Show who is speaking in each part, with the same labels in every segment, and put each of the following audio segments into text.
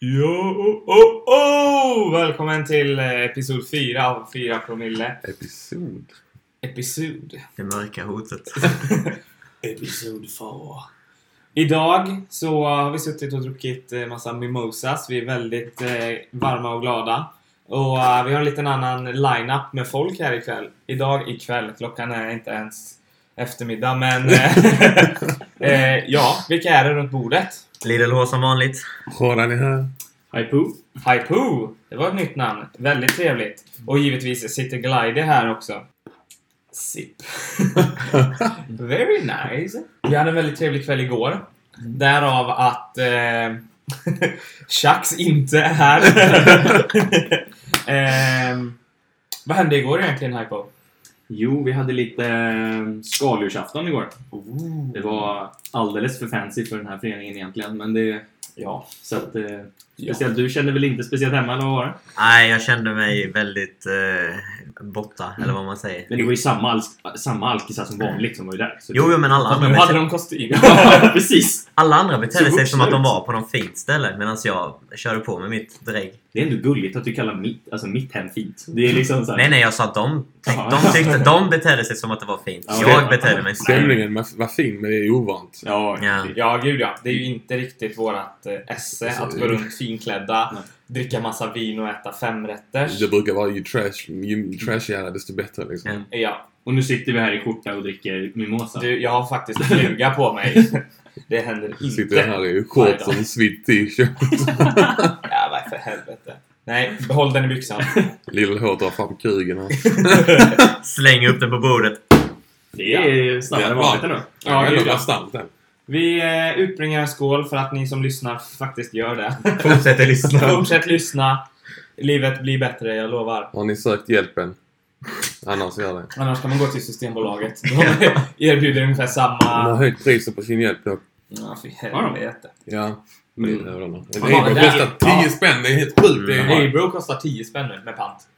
Speaker 1: Jo, oh, oh, oh! Välkommen till eh, episod 4 av 4 promille.
Speaker 2: Episod.
Speaker 1: Episod.
Speaker 3: Det mörka hotet.
Speaker 1: Episod 4. Idag så har vi suttit och druckit eh, massa mimosas. Vi är väldigt eh, varma och glada. Och eh, vi har en liten annan line-up med folk här ikväll. Idag ikväll. Klockan är inte ens eftermiddag men... Eh, eh, ja, vilka är det runt bordet?
Speaker 3: Lidl H som vanligt.
Speaker 2: Håran är här.
Speaker 1: Haipu. Haipu! Det var ett nytt namn. Väldigt trevligt. Och givetvis sitter Glide här också. Sip. Very nice. Vi hade en väldigt trevlig kväll igår. Därav att eh, Chax inte är här. Ehm, vad hände igår egentligen, Haipo?
Speaker 4: Jo, vi hade lite eh, skaldjursafton igår. Det var alldeles för fancy för den här föreningen egentligen, men det... Ja, så att... Eh, speciellt du kände väl inte speciellt hemma, eller vad var det?
Speaker 3: Nej, jag kände mig väldigt eh, borta, eller vad man säger.
Speaker 4: Men det var ju samma, alk- samma alkisar som vanligt som var ju där. Så
Speaker 3: Jo, jo men alla andra,
Speaker 1: Nu hade
Speaker 3: bete-
Speaker 1: de kostym.
Speaker 4: Ja, precis!
Speaker 3: alla andra betedde
Speaker 4: Så
Speaker 3: sig som att de
Speaker 4: vuxna
Speaker 3: var på någon fint ställe medan jag körde på med mitt drägg.
Speaker 4: Det är ändå gulligt att du kallar mitt, alltså mitt hem fint. Det är liksom så här,
Speaker 3: Nej, nej, jag sa att de, tänk,
Speaker 4: Ja.
Speaker 3: de tyckte de betedde sig som att det var fint.
Speaker 4: Ja,
Speaker 3: Jag
Speaker 4: okej.
Speaker 3: betedde mig så.
Speaker 2: Stämningen var- var fin, men det är ovant.
Speaker 4: Ja,
Speaker 3: Ja.
Speaker 1: Ja, gud ja. Det är ju inte riktigt vårat eh, esse att gå runt finklädda,
Speaker 4: Nej.
Speaker 1: dricka massa vin och äta femrätters.
Speaker 2: Det brukar vara ju trash. Ju trashigare desto bättre liksom.
Speaker 3: Ja.
Speaker 1: Ja,
Speaker 4: Och nu sitter vi här i skjorta och dricker mimosa.
Speaker 1: du, jag har faktiskt fluga på mig. Det händer inte.
Speaker 2: Sitter jag här i shorts och en svit t-shirt.
Speaker 1: Ja, vad för helvete. Nej, behåll den i byxan.
Speaker 2: Lilla H drar fram kugen här.
Speaker 3: Släng upp den på bordet.
Speaker 4: Det är snabbare än vanligt ändå.
Speaker 1: Ja,
Speaker 2: det
Speaker 1: det är
Speaker 2: är ändå
Speaker 1: bra.
Speaker 2: bastant den.
Speaker 1: Vi eh, utbringar en skål för att ni som lyssnar faktiskt gör det.
Speaker 3: Fortsätter lyssna.
Speaker 1: Fortsätt lyssna. Livet blir bättre, jag lovar.
Speaker 2: Har ni sökt hjälpen? Annars gör det.
Speaker 1: Annars kan man gå till Systembolaget. De erbjuder ungefär
Speaker 2: De har
Speaker 1: samma...
Speaker 2: höjt priset på sin hjälp dock.
Speaker 1: Ja, fy helvete.
Speaker 2: Ja.
Speaker 4: Mm.
Speaker 2: Lilla H, då. Det
Speaker 1: Vad fan,
Speaker 2: är
Speaker 1: det Mm. där-
Speaker 2: kostar 10 spänn. Det är helt sjukt. Det är-
Speaker 1: Abro kostar 10 spänn nu med pant.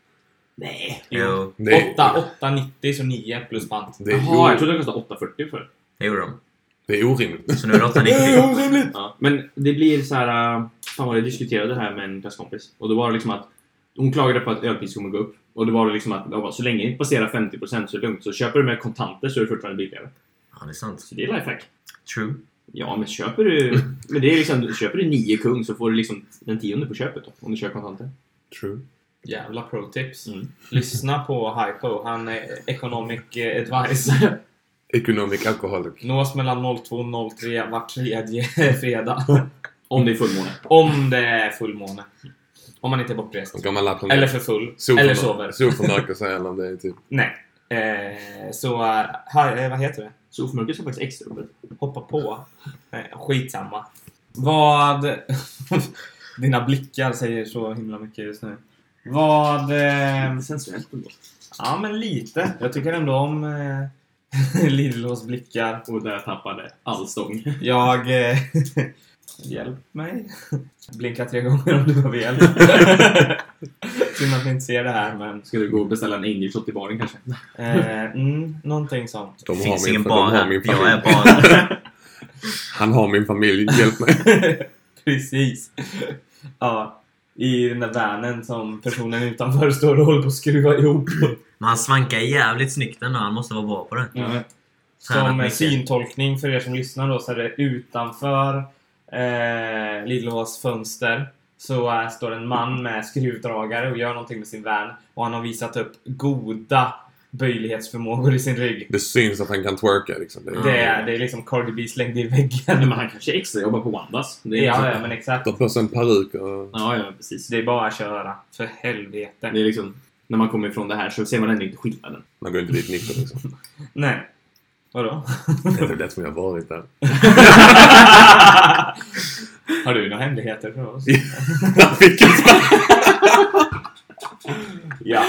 Speaker 4: Nej.
Speaker 3: Jo,
Speaker 2: Det är-
Speaker 1: 8, 8,90 så 9 plus pant.
Speaker 2: Det är,
Speaker 4: Jaha, jag
Speaker 2: o-
Speaker 4: trodde det kostade 8,40 för det.
Speaker 3: det gjorde de.
Speaker 2: det är orimligt.
Speaker 3: Så nu är det 890.
Speaker 1: orimligt!
Speaker 4: Ja, men det blir så här... äh, Fan vad jag diskuterade det här med en klasskompis. Och då var det liksom att hon klagade på att ölpriset kommer gå upp. Och då var det liksom att jag bara, så länge det inte passerar 50% så är det lugnt. Så köper du med kontanter så är det fortfarande billigare.
Speaker 3: Ja, det är sant.
Speaker 4: Så det är lifehack.
Speaker 3: True.
Speaker 4: Ja, men köper du... Men det är liksom, köper du nio kung så får du liksom den tionde på köpet då, om du kör kontanter.
Speaker 2: True.
Speaker 1: Jävla pro-tips.
Speaker 4: Mm.
Speaker 1: Lyssna på Hypo. Han är economic eh, advice.
Speaker 2: Economic alcoholic.
Speaker 1: Nås mellan 02 och 03 var tredje fredag.
Speaker 4: Om det är fullmåne.
Speaker 1: Om det är fullmåne. Om man inte är bortrest.
Speaker 2: En gammal lapp.
Speaker 1: Eller för full. Eller sover.
Speaker 2: Solförmörkelse sig eller om det är typ...
Speaker 1: Nej. Eh, så, eh, här, eh, vad heter det?
Speaker 4: Så oförmörkelse är faktiskt extra uppe.
Speaker 1: Hoppa på. Eh, skitsamma. Vad... Dina blickar säger så himla mycket just nu. Vad... Eh,
Speaker 4: Sensuellt ändå.
Speaker 1: ja, men lite. Jag tycker ändå om eh, Lillås blickar.
Speaker 4: Och där tappade all stång.
Speaker 1: Jag... Eh, hjälp mig. Blinka tre gånger om du behöver hjälp. Synd att ni inte ser det här, men...
Speaker 4: Ska du gå och beställa en angelshot i baren kanske?
Speaker 1: Eh, mm, någonting sånt.
Speaker 2: De
Speaker 3: Det
Speaker 2: har
Speaker 3: finns
Speaker 2: min,
Speaker 3: ingen
Speaker 2: de
Speaker 3: bar
Speaker 2: har
Speaker 3: här.
Speaker 2: min
Speaker 3: Jag är
Speaker 2: familj.
Speaker 3: barn.
Speaker 2: Han har min familj. Hjälp mig.
Speaker 1: Precis. ja, I den där vanen som personen utanför står och håller på att skruva ihop.
Speaker 3: Men han svankar jävligt snyggt ändå. Han måste vara bra på det.
Speaker 4: Ja.
Speaker 3: Tränat
Speaker 1: Mm. Som
Speaker 3: mycket.
Speaker 1: syntolkning för er som lyssnar då så är det utanför eh, Lillås fönster så eh, står en man med skruvdragare och gör någonting med sin van och han har visat upp goda böjlighetsförmågor i sin rygg.
Speaker 2: Det syns att han kan twerka liksom.
Speaker 4: Mm.
Speaker 2: Det är,
Speaker 1: Det är, det är liksom Cardi B slängd i väggen.
Speaker 4: Men han kanske extra jobbar på Wandas. Det är
Speaker 1: Ja, ja, men exakt.
Speaker 2: Ta på sig en peruk och...
Speaker 4: ja, ja, precis.
Speaker 1: Det är bara att köra. För helvete.
Speaker 4: Det är liksom, när man kommer ifrån det här så ser man ändå inte skillnaden.
Speaker 2: Man går inte dit nykter liksom.
Speaker 1: Nej. Vadå?
Speaker 2: Det är väl det som jag har varit där.
Speaker 1: Har du några hemligheter för oss?
Speaker 2: Vilken smak!
Speaker 1: Ja.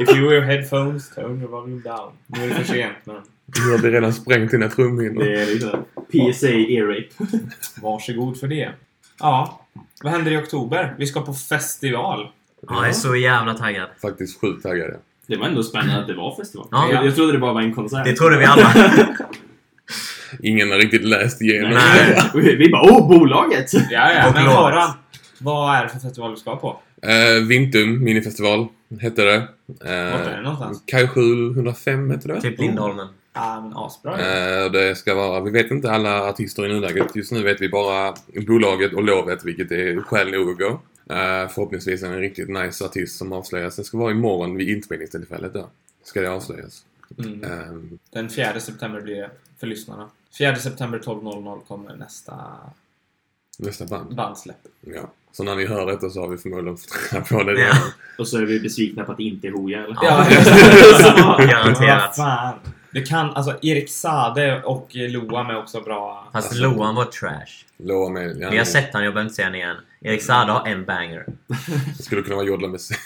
Speaker 1: If you wear headphones, turn the volume down. Nu är det för sent, men
Speaker 2: Du hade redan sprängt dina trumhinnor.
Speaker 4: Det är liksom PSA E-rape.
Speaker 1: varsågod för det. Ja. Vad händer i oktober? Vi ska på festival.
Speaker 3: Ja, jag är så jävla taggad.
Speaker 2: Faktiskt sjukt taggad jag.
Speaker 4: Det var ändå spännande att det var festival.
Speaker 3: Ja.
Speaker 4: Jag, jag trodde det bara var en konsert.
Speaker 3: Det trodde vi alla.
Speaker 2: Ingen har riktigt läst igenom.
Speaker 3: Nej.
Speaker 4: vi, vi bara åh, bolaget!
Speaker 1: Ja, ja.
Speaker 3: Och
Speaker 1: Men
Speaker 3: lovet.
Speaker 1: Faran, Vad är det för festival du ska på?
Speaker 2: Eh, Vintum minifestival hette det. Eh,
Speaker 1: Vart är det någonstans?
Speaker 2: Kajskjul 105 hette det.
Speaker 3: Typ Lindholmen.
Speaker 1: Ja, men asbra ju.
Speaker 2: Eh, och det ska vara, vi vet inte alla artister i nuläget. Just nu vet vi bara bolaget och lovet, vilket är skäl nog att gå. Eh, förhoppningsvis en riktigt nice artist som avslöjas. Det ska vara imorgon vid inspelningstillfället då. Ska det avslöjas.
Speaker 1: mm.
Speaker 2: Ehm,
Speaker 1: Den 4 september blir det för lyssnarna. 4 september 12.00 kommer nästa
Speaker 2: nästa band.
Speaker 1: bandsläpp.
Speaker 2: Ja. Så när ni hör detta så har vi förmodligen fått reda på det.
Speaker 3: Ja.
Speaker 2: redan.
Speaker 4: Och så är vi besvikna på att det inte är Hooja eller?
Speaker 1: Ja,
Speaker 3: Garanterat.
Speaker 1: Vad fan. Det kan, alltså Erik Sade och Loa är också bra.
Speaker 3: Fast
Speaker 4: Alltså,
Speaker 3: Loan var trash.
Speaker 2: Lova med. Ja,
Speaker 3: Vi har sett han, jag behöver inte se han igen. Erik Saade har en banger.
Speaker 2: Det skulle kunna vara Jodla Musik.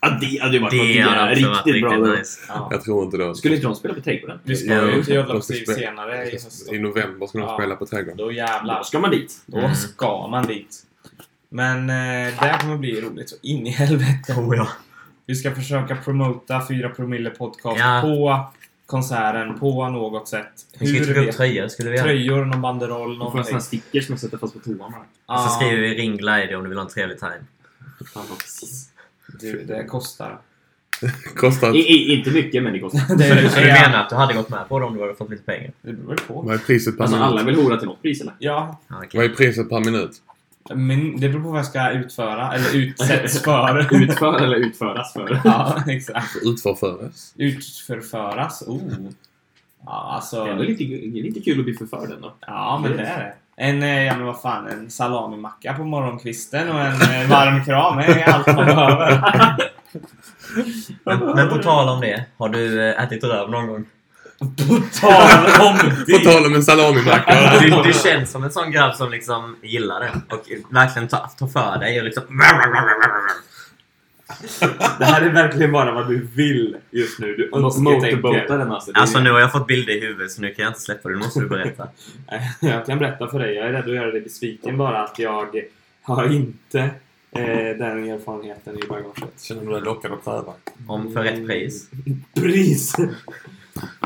Speaker 4: Ja, det hade ju varit något
Speaker 3: Det har
Speaker 4: jävla
Speaker 3: också varit
Speaker 4: riktigt bra.
Speaker 3: riktigt
Speaker 4: då.
Speaker 3: nice.
Speaker 1: Ja.
Speaker 2: Jag tror inte det.
Speaker 4: Skulle inte de spela på Trädgården?
Speaker 1: Vi ska ju till Göteborg
Speaker 2: ska
Speaker 1: Music
Speaker 2: spela-
Speaker 1: senare i höst.
Speaker 2: I november ska de
Speaker 1: Ja.
Speaker 2: spela på Trädgården.
Speaker 1: Då
Speaker 4: Då
Speaker 1: jävlar.
Speaker 4: ska man dit.
Speaker 1: Då
Speaker 3: Mm.
Speaker 1: ska man dit. Men eh, det här kommer bli roligt så in i helvete.
Speaker 3: Oh, ja.
Speaker 1: Vi ska försöka promota 4 promille podcast
Speaker 3: Ja.
Speaker 1: på konserten på något sätt.
Speaker 3: Vi ska ju trycka upp
Speaker 1: vet-
Speaker 3: tröjor, skulle vi göra.
Speaker 1: Tröjor, någon banderoll,
Speaker 4: De får
Speaker 1: någonting.
Speaker 4: sådana stickers som sätter fast på toan bara.
Speaker 1: Ja,
Speaker 3: Så skriver vi ring glide om du vill ha en trevlig time.
Speaker 4: Fan, vad precis.
Speaker 1: du, det kostar.
Speaker 2: Kostar...
Speaker 4: I, i, inte mycket men det kostar.
Speaker 1: Det,
Speaker 3: Så du, så du
Speaker 1: det,
Speaker 3: menar att du hade gått med på det om du hade fått lite pengar?
Speaker 1: det beror väl på.
Speaker 2: Vad är priset per
Speaker 4: Alltså
Speaker 2: minut?
Speaker 4: alla vill hora till något pris eller?
Speaker 1: Ja,
Speaker 3: Ja, okej.
Speaker 2: Vad är priset per minut?
Speaker 1: men det beror på vad jag ska utföra. Eller utsätts för.
Speaker 4: Utför eller utföras för.
Speaker 1: ja, exakt.
Speaker 2: Utförföres?
Speaker 1: Utförföras. Oh. Ja,
Speaker 4: Det är
Speaker 1: alltså.
Speaker 4: väl lite, det är lite kul att bli förförd ändå.
Speaker 1: Ja, men det är det. En, eh, ja men vad fan, en salamimacka på morgonkvisten och en eh, varm kram det är allt man behöver.
Speaker 3: Men, men på tal om det, har du eh, ätit röv någon gång?
Speaker 1: På tal om
Speaker 2: På tal om en salamimacka.
Speaker 3: Du, du känns som en sån grabb som liksom gillar det och verkligen tar ta för dig och liksom...
Speaker 1: Det här är verkligen bara vad du vill just nu. Du
Speaker 4: Motorbåtar den alltså. Det är-
Speaker 3: Alltså nu har jag fått bilder i huvudet så nu kan jag inte släppa det. Nu måste du berätta.
Speaker 1: Jag kan berätta för dig, jag är rädd att göra dig besviken bara att jag har inte eh, den erfarenheten i bagaget.
Speaker 2: Känner du dig lockad att pröva?
Speaker 3: Om för rätt pris.
Speaker 1: Pris!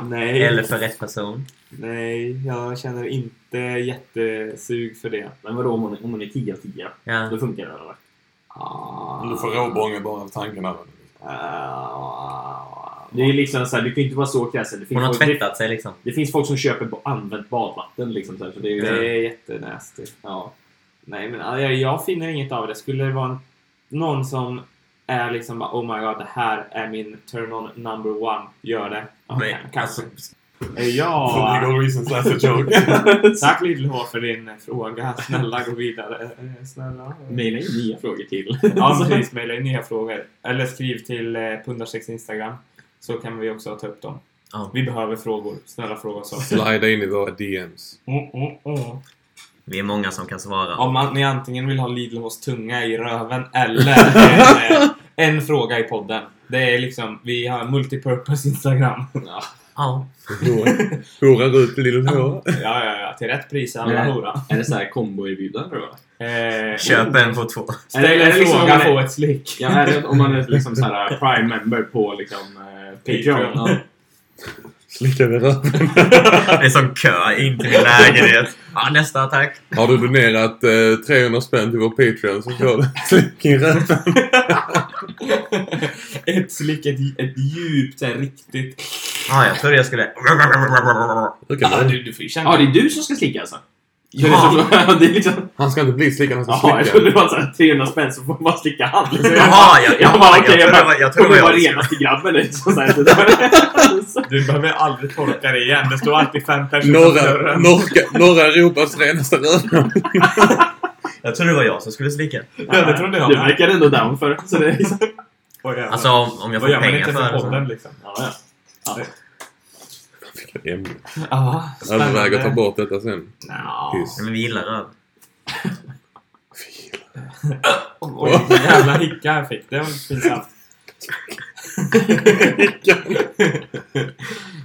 Speaker 1: Nej,
Speaker 3: Eller för rätt person.
Speaker 1: nej, jag känner inte jättesug för det.
Speaker 4: Men vadå om hon, är- om hon är 10 av 10?
Speaker 3: Ja.
Speaker 4: Då funkar det eller?
Speaker 1: Ah.
Speaker 2: råbånge bara av tanken av det.
Speaker 1: ah.
Speaker 4: Det är liksom så här, du kan ju inte vara så kräsen. Det finns,
Speaker 3: Hon har
Speaker 4: folk, det,
Speaker 3: tvättat sig liksom.
Speaker 4: det finns folk som köper ba- använt badvatten liksom. Så, här, så det är ju...
Speaker 1: Det är jättenasty.
Speaker 4: Ja.
Speaker 1: Nej, men alltså, jag, jag finner inget av det. Skulle det vara en- någon som är liksom bara, oh my god, det här är min turn on number one. Gör det. Ja,
Speaker 3: Men,
Speaker 1: kan-
Speaker 3: alltså,
Speaker 1: kanske. Eh, Ja.
Speaker 2: reasons that's a joke.
Speaker 1: Tack Lillehå för din fråga. Snälla gå vidare. Eh, Snälla.
Speaker 4: Mejla in nya frågor till.
Speaker 1: Ja, men precis. Mejla in nya frågor. Eller skriv till eh, Pundarsex Instagram. Så kan vi också ta upp dem.
Speaker 3: ja.
Speaker 1: Vi behöver frågor. Snälla fråga oss också.
Speaker 2: Slida in i våra DMs.
Speaker 4: Oh,
Speaker 1: Mm, mm, mm.
Speaker 3: Vi är många som kan svara.
Speaker 1: Om man, ni antingen vill ha Lidlhås tunga i röven eller en, eh, en fråga i podden. Det är liksom, vi har multipurpose Instagram. Ja,
Speaker 3: Ja.
Speaker 2: Hora- Horar ut lille hår.
Speaker 1: ja, ja. Till rätt pris alla
Speaker 4: Nej.
Speaker 1: hora.
Speaker 4: är det så här komboerbjudande då?
Speaker 1: Eh,
Speaker 3: Köp en på två.
Speaker 1: Ställ
Speaker 4: Är det-
Speaker 1: en
Speaker 4: är det liksom
Speaker 1: fråga,
Speaker 4: om man-
Speaker 1: få ett slick.
Speaker 4: Ja, är det, om man är liksom så här prime member på liksom eh, Patreon.
Speaker 1: Patreon.
Speaker 4: Ja.
Speaker 2: Slickar vi röven.
Speaker 3: Det är som kö in till min lägenhet. Ja, nästa attack.
Speaker 2: Har du donerat eh, 300 spänn till vår Patreon så får du slick i röven.
Speaker 1: ett slick, ett, ett djupt, så här, riktigt...
Speaker 3: Ja, jag trodde jag skulle...
Speaker 2: Hur kan
Speaker 1: Ah,
Speaker 2: man-
Speaker 1: du, du får ju känna.
Speaker 4: Ja, det är du som ska slicka alltså?
Speaker 3: Ja.
Speaker 4: Det är som- det är liksom...
Speaker 2: Han ska inte bli slickad, han
Speaker 4: Jaha,
Speaker 2: ska
Speaker 4: jag trodde
Speaker 2: slicka.
Speaker 4: det var såhär 300 spänn så får man bara slicka hand. Liksom.
Speaker 3: Jaha, jag, jag,
Speaker 4: Jag bara, okej, jag
Speaker 3: trodde det
Speaker 4: bara...
Speaker 3: var- jag
Speaker 4: Jag trodde
Speaker 3: trodde jag
Speaker 4: det var
Speaker 3: var
Speaker 4: renaste grabben liksom. Så här, så där.
Speaker 1: Du behöver aldrig torka det igen. Det står alltid fem personer
Speaker 2: Norra, norra, norra Europas renaste rövhål.
Speaker 3: Jag trodde det var jag som skulle slicka.
Speaker 1: Ja, det trodde jag
Speaker 4: Du
Speaker 1: med.
Speaker 4: verkar ändå down för det. Så det är liksom...
Speaker 1: Oj, jävlar.
Speaker 3: Alltså om, om
Speaker 1: Vad
Speaker 3: jag får
Speaker 1: gör man
Speaker 3: pengar
Speaker 1: inte
Speaker 3: för det.
Speaker 1: för
Speaker 3: så-
Speaker 1: podden liksom?
Speaker 4: Ja, ja.
Speaker 1: Ja,
Speaker 2: Överväg att ta bort detta sen.
Speaker 1: Nja.
Speaker 2: Piss.
Speaker 3: Nej, men vi gillar röv.
Speaker 1: Oj, vilken jävla hicka jag fick. Det var pinsamt.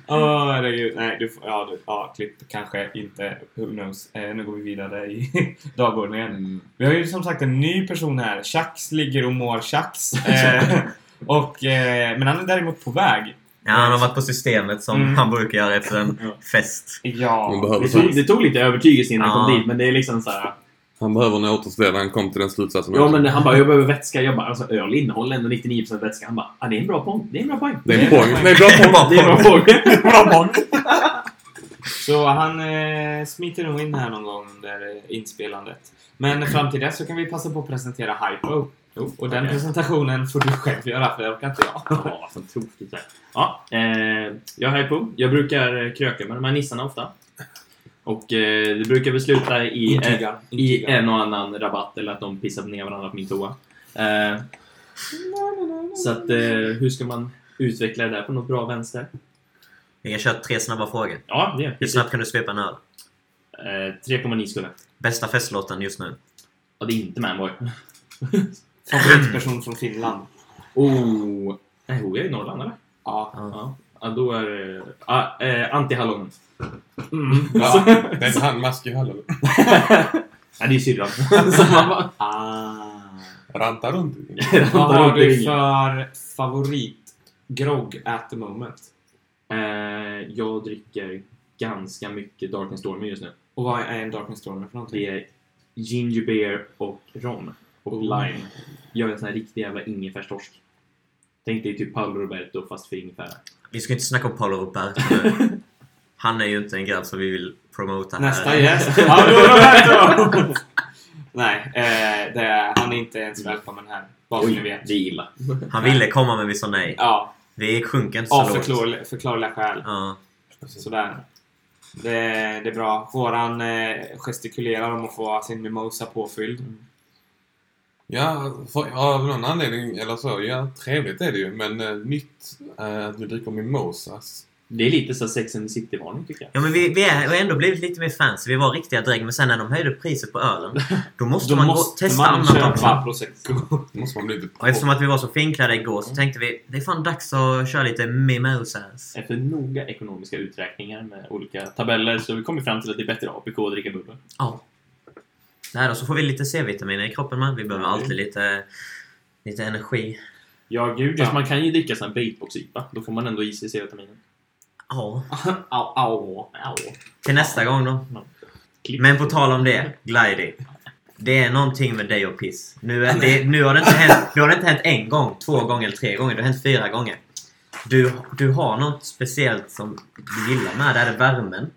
Speaker 1: Åh, herregud. Nej, du får... Ja, du, ja, klipp kanske inte. Who knows. Eh, nu går vi vidare i dagordningen. Vi har ju som sagt en ny person här. Chax ligger och mår Chax. Eh, och, eh, men han är däremot på väg.
Speaker 3: Ja, han har varit på systemet som
Speaker 1: Mm.
Speaker 3: han brukar göra efter en
Speaker 4: Ja.
Speaker 3: fest.
Speaker 1: Ja.
Speaker 2: Man behöver
Speaker 4: Det tog, det tog lite övertygelse innan jag
Speaker 3: Ja.
Speaker 4: kom dit, men det är liksom så här.
Speaker 2: Han behöver nog återställa. Han kom till den slutsatsen
Speaker 4: Ja,
Speaker 2: också.
Speaker 4: men han bara, jag behöver vätska. Jag bara, alltså öl innehåller ändå 99% vätska. Han bara, ah, det är en bra poäng. Det är en bra poäng.
Speaker 2: Det är en poäng. Nej, bra poäng.
Speaker 4: Det är en bra
Speaker 2: Bra
Speaker 4: poäng.
Speaker 2: poäng.
Speaker 1: Så han eh, smiter nog in här någon gång under eh, inspelandet.
Speaker 4: Mm.
Speaker 1: Men fram till dess så kan vi passa på att presentera Hypo. Och den
Speaker 4: okej. Mm.
Speaker 1: presentationen får du själv göra för det orkar inte jag.
Speaker 4: Ja, vad tokigt det här. Ja, eh, jag är på. Jag brukar eh, kröka med de här nissarna ofta. Och eh, det brukar besluta i, eh,
Speaker 1: Intygar,
Speaker 4: i
Speaker 1: intygar.
Speaker 4: en och annan rabatt eller att de pissar ner varandra på min toa. Eh, så att eh, hur ska man utveckla det där på något bra vänster?
Speaker 3: Vi kan köra tre snabba frågor.
Speaker 4: Ja, det Eh, är
Speaker 3: Hur
Speaker 4: precis. Eh,
Speaker 3: snabbt kan du svepa en öl?
Speaker 4: 3,9 skulle.
Speaker 3: Bästa festlåten just nu?
Speaker 4: Ja, det är inte Manboy.
Speaker 1: Favoritperson från Finland.
Speaker 4: Oh, nej, oh, jag är i Norrland eller?
Speaker 1: Ja.
Speaker 3: Ja.
Speaker 4: Ja, ja då är det... ah, eh, Antihallonen.
Speaker 1: Mm.
Speaker 2: Ja, det är inte han maskig heller.
Speaker 4: Nej, det är syrran. Så man bara-
Speaker 1: Ah.
Speaker 2: Ranta runt.
Speaker 1: Vad har du för favoritgrogg at the moment?
Speaker 4: Eh, jag dricker ganska mycket Dark and Stormy just nu.
Speaker 1: Och vad är en Darkness Stormer för någonting?
Speaker 4: Det är ginger beer och rom. Och
Speaker 3: Oh.
Speaker 4: lime. Jag är en sån här riktig jävla ingefärstorsk. Tänk dig typ Paolo Roberto fast för ingefära.
Speaker 3: Vi ska inte snacka om Paolo Roberto nu. Han är ju inte en grabb som vi vill promota här.
Speaker 1: Nästa gäst. Ja, då Roberto! Nej, eh, det är, han är inte ens välkommen här. Vad vi nu vet.
Speaker 4: Mm. det är illa.
Speaker 3: Han ville komma men vi sa nej.
Speaker 1: Ja,
Speaker 3: Vi sjunker inte
Speaker 1: av
Speaker 3: så lågt.
Speaker 1: förklarliga, förklarliga skäl.
Speaker 3: Ja.
Speaker 1: Sådär. Det, det är bra. Våran eh, gestikulerar om att få sin mimosa påfylld.
Speaker 2: Ja, för, ja, av någon anledning eller så. Ja, trevligt är det ju. Men eh, nytt eh, att vi dricker mimosas.
Speaker 4: Det är lite så Sex and the City-varning tycker jag.
Speaker 3: Ja men vi, vi, är, vi har ändå blivit lite mer fans. Vi var riktiga dräng men sen när de höjde priset på ölen då måste
Speaker 1: Då
Speaker 3: man gå-
Speaker 1: måste
Speaker 3: testa
Speaker 1: man
Speaker 3: annat
Speaker 1: köpa
Speaker 3: också.
Speaker 1: prosecco.
Speaker 2: Då måste man bli lite...
Speaker 3: Och eftersom att vi var så finklädda igår så tänkte vi det är fan dags att köra lite mimosas.
Speaker 4: Efter noga ekonomiska uträkningar med olika tabeller så vi kommer fram till att det är bättre APK att dricka bubbel.
Speaker 3: Ja. Nej då så får vi lite C-vitaminer i kroppen med. Vi behöver alltid lite, lite energi.
Speaker 1: Ja, gud
Speaker 4: Fast
Speaker 1: ja.
Speaker 4: man kan ju dricka sån här baitbox-IPA. Då får man ändå i sig C-vitaminen.
Speaker 3: Ja.
Speaker 1: Au, au.
Speaker 4: Au.
Speaker 3: Till nästa gång då.
Speaker 4: Klipp.
Speaker 3: Men på tal om det, Glidy. Det är någonting med dig och piss. Nu, är det, nu, har det inte hänt, nu har det inte hänt en gång, två gånger eller tre gånger. Det har hänt fyra gånger. Du, du har något speciellt som du gillar med det. Är det värmen?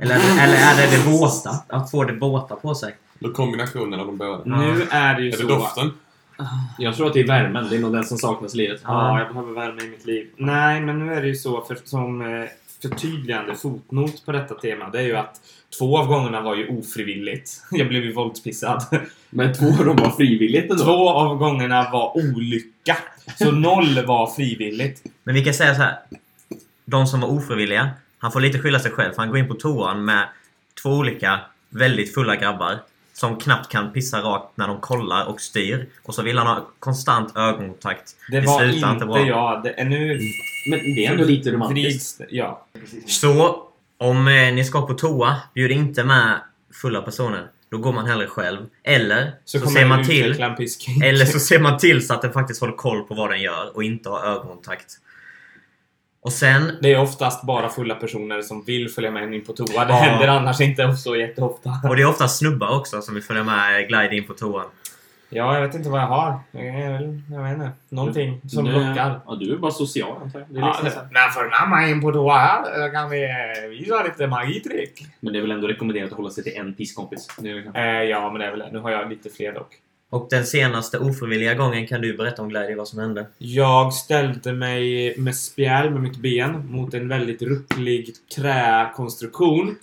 Speaker 3: Eller, eller är det det våta? Att få det våta på sig?
Speaker 2: Då kombinationen av de båda.
Speaker 4: Mm.
Speaker 1: Nu är det ju
Speaker 2: Är
Speaker 1: så.
Speaker 2: det doften?
Speaker 4: Jag tror att det är värmen. Det är nog den som saknas i livet.
Speaker 1: Ja, jag behöver värme i mitt liv. Nej, men nu är det ju så för, som eh, förtydligande fotnot på detta tema. Det är ju att två av gångerna var ju ofrivilligt. Jag blev ju våldspissad.
Speaker 4: Men två av dem var frivilligt ändå.
Speaker 1: Två av gångerna var olycka. Så noll var frivilligt.
Speaker 3: Men vi kan säga så här. De som var ofrivilliga, han får lite skylla sig själv. För han går in på toan med två olika väldigt fulla grabbar. Som knappt kan pissa rakt när de kollar och styr. Och så vill han ha konstant ögonkontakt.
Speaker 1: Det var inte jag. Det är nu
Speaker 4: Men det är ändå lite romantiskt.
Speaker 1: vrids... Ja.
Speaker 3: Så om eh, ni ska på toa, bjud inte med fulla personer. Då går man hellre själv. Eller så,
Speaker 1: Så,
Speaker 3: ser
Speaker 1: kommer
Speaker 3: man
Speaker 1: man
Speaker 3: till
Speaker 1: utveckla en pysk.
Speaker 3: eller så ser man till så att den faktiskt håller koll på vad den gör och inte har ögonkontakt. Och sen
Speaker 1: Det är oftast bara fulla personer som vill följa med in på toa. Det händer annars inte så jätteofta.
Speaker 3: Och det är ofta snubbar också som vill följa med Glide in på toan.
Speaker 1: Ja, jag vet inte vad jag har. Jag, är väl- jag vet inte. Någonting som
Speaker 4: Nu-
Speaker 1: lockar.
Speaker 4: Ja, du är bara social antar jag. Det är
Speaker 1: Ja,
Speaker 4: liksom så
Speaker 1: det,
Speaker 4: här.
Speaker 1: när förra man in på toa här eh, kan vi eh, visa lite magitrick.
Speaker 4: Men det är väl ändå rekommenderat att hålla sig till en pisskompis. Det är väl-
Speaker 1: Eh, ja, men det är väl Nu har jag lite fler dock.
Speaker 3: Och den senaste ofrivilliga gången kan du berätta om Glide vad som hände.
Speaker 1: Jag ställde mig med spjäl med mitt ben mot en väldigt rucklig träkonstruktion.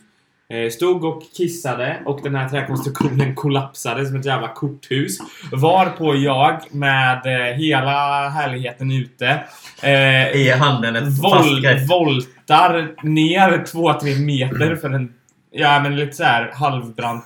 Speaker 1: Eh, Stod och kissade och den här träkonstruktionen kollapsade som ett jävla korthus. Varpå jag med eh, hela härligheten ute eh,
Speaker 3: I handen ett fast
Speaker 1: Vol
Speaker 3: grepp.
Speaker 1: voltar ner 2-3 meter för en ja, men lite så här halvbrant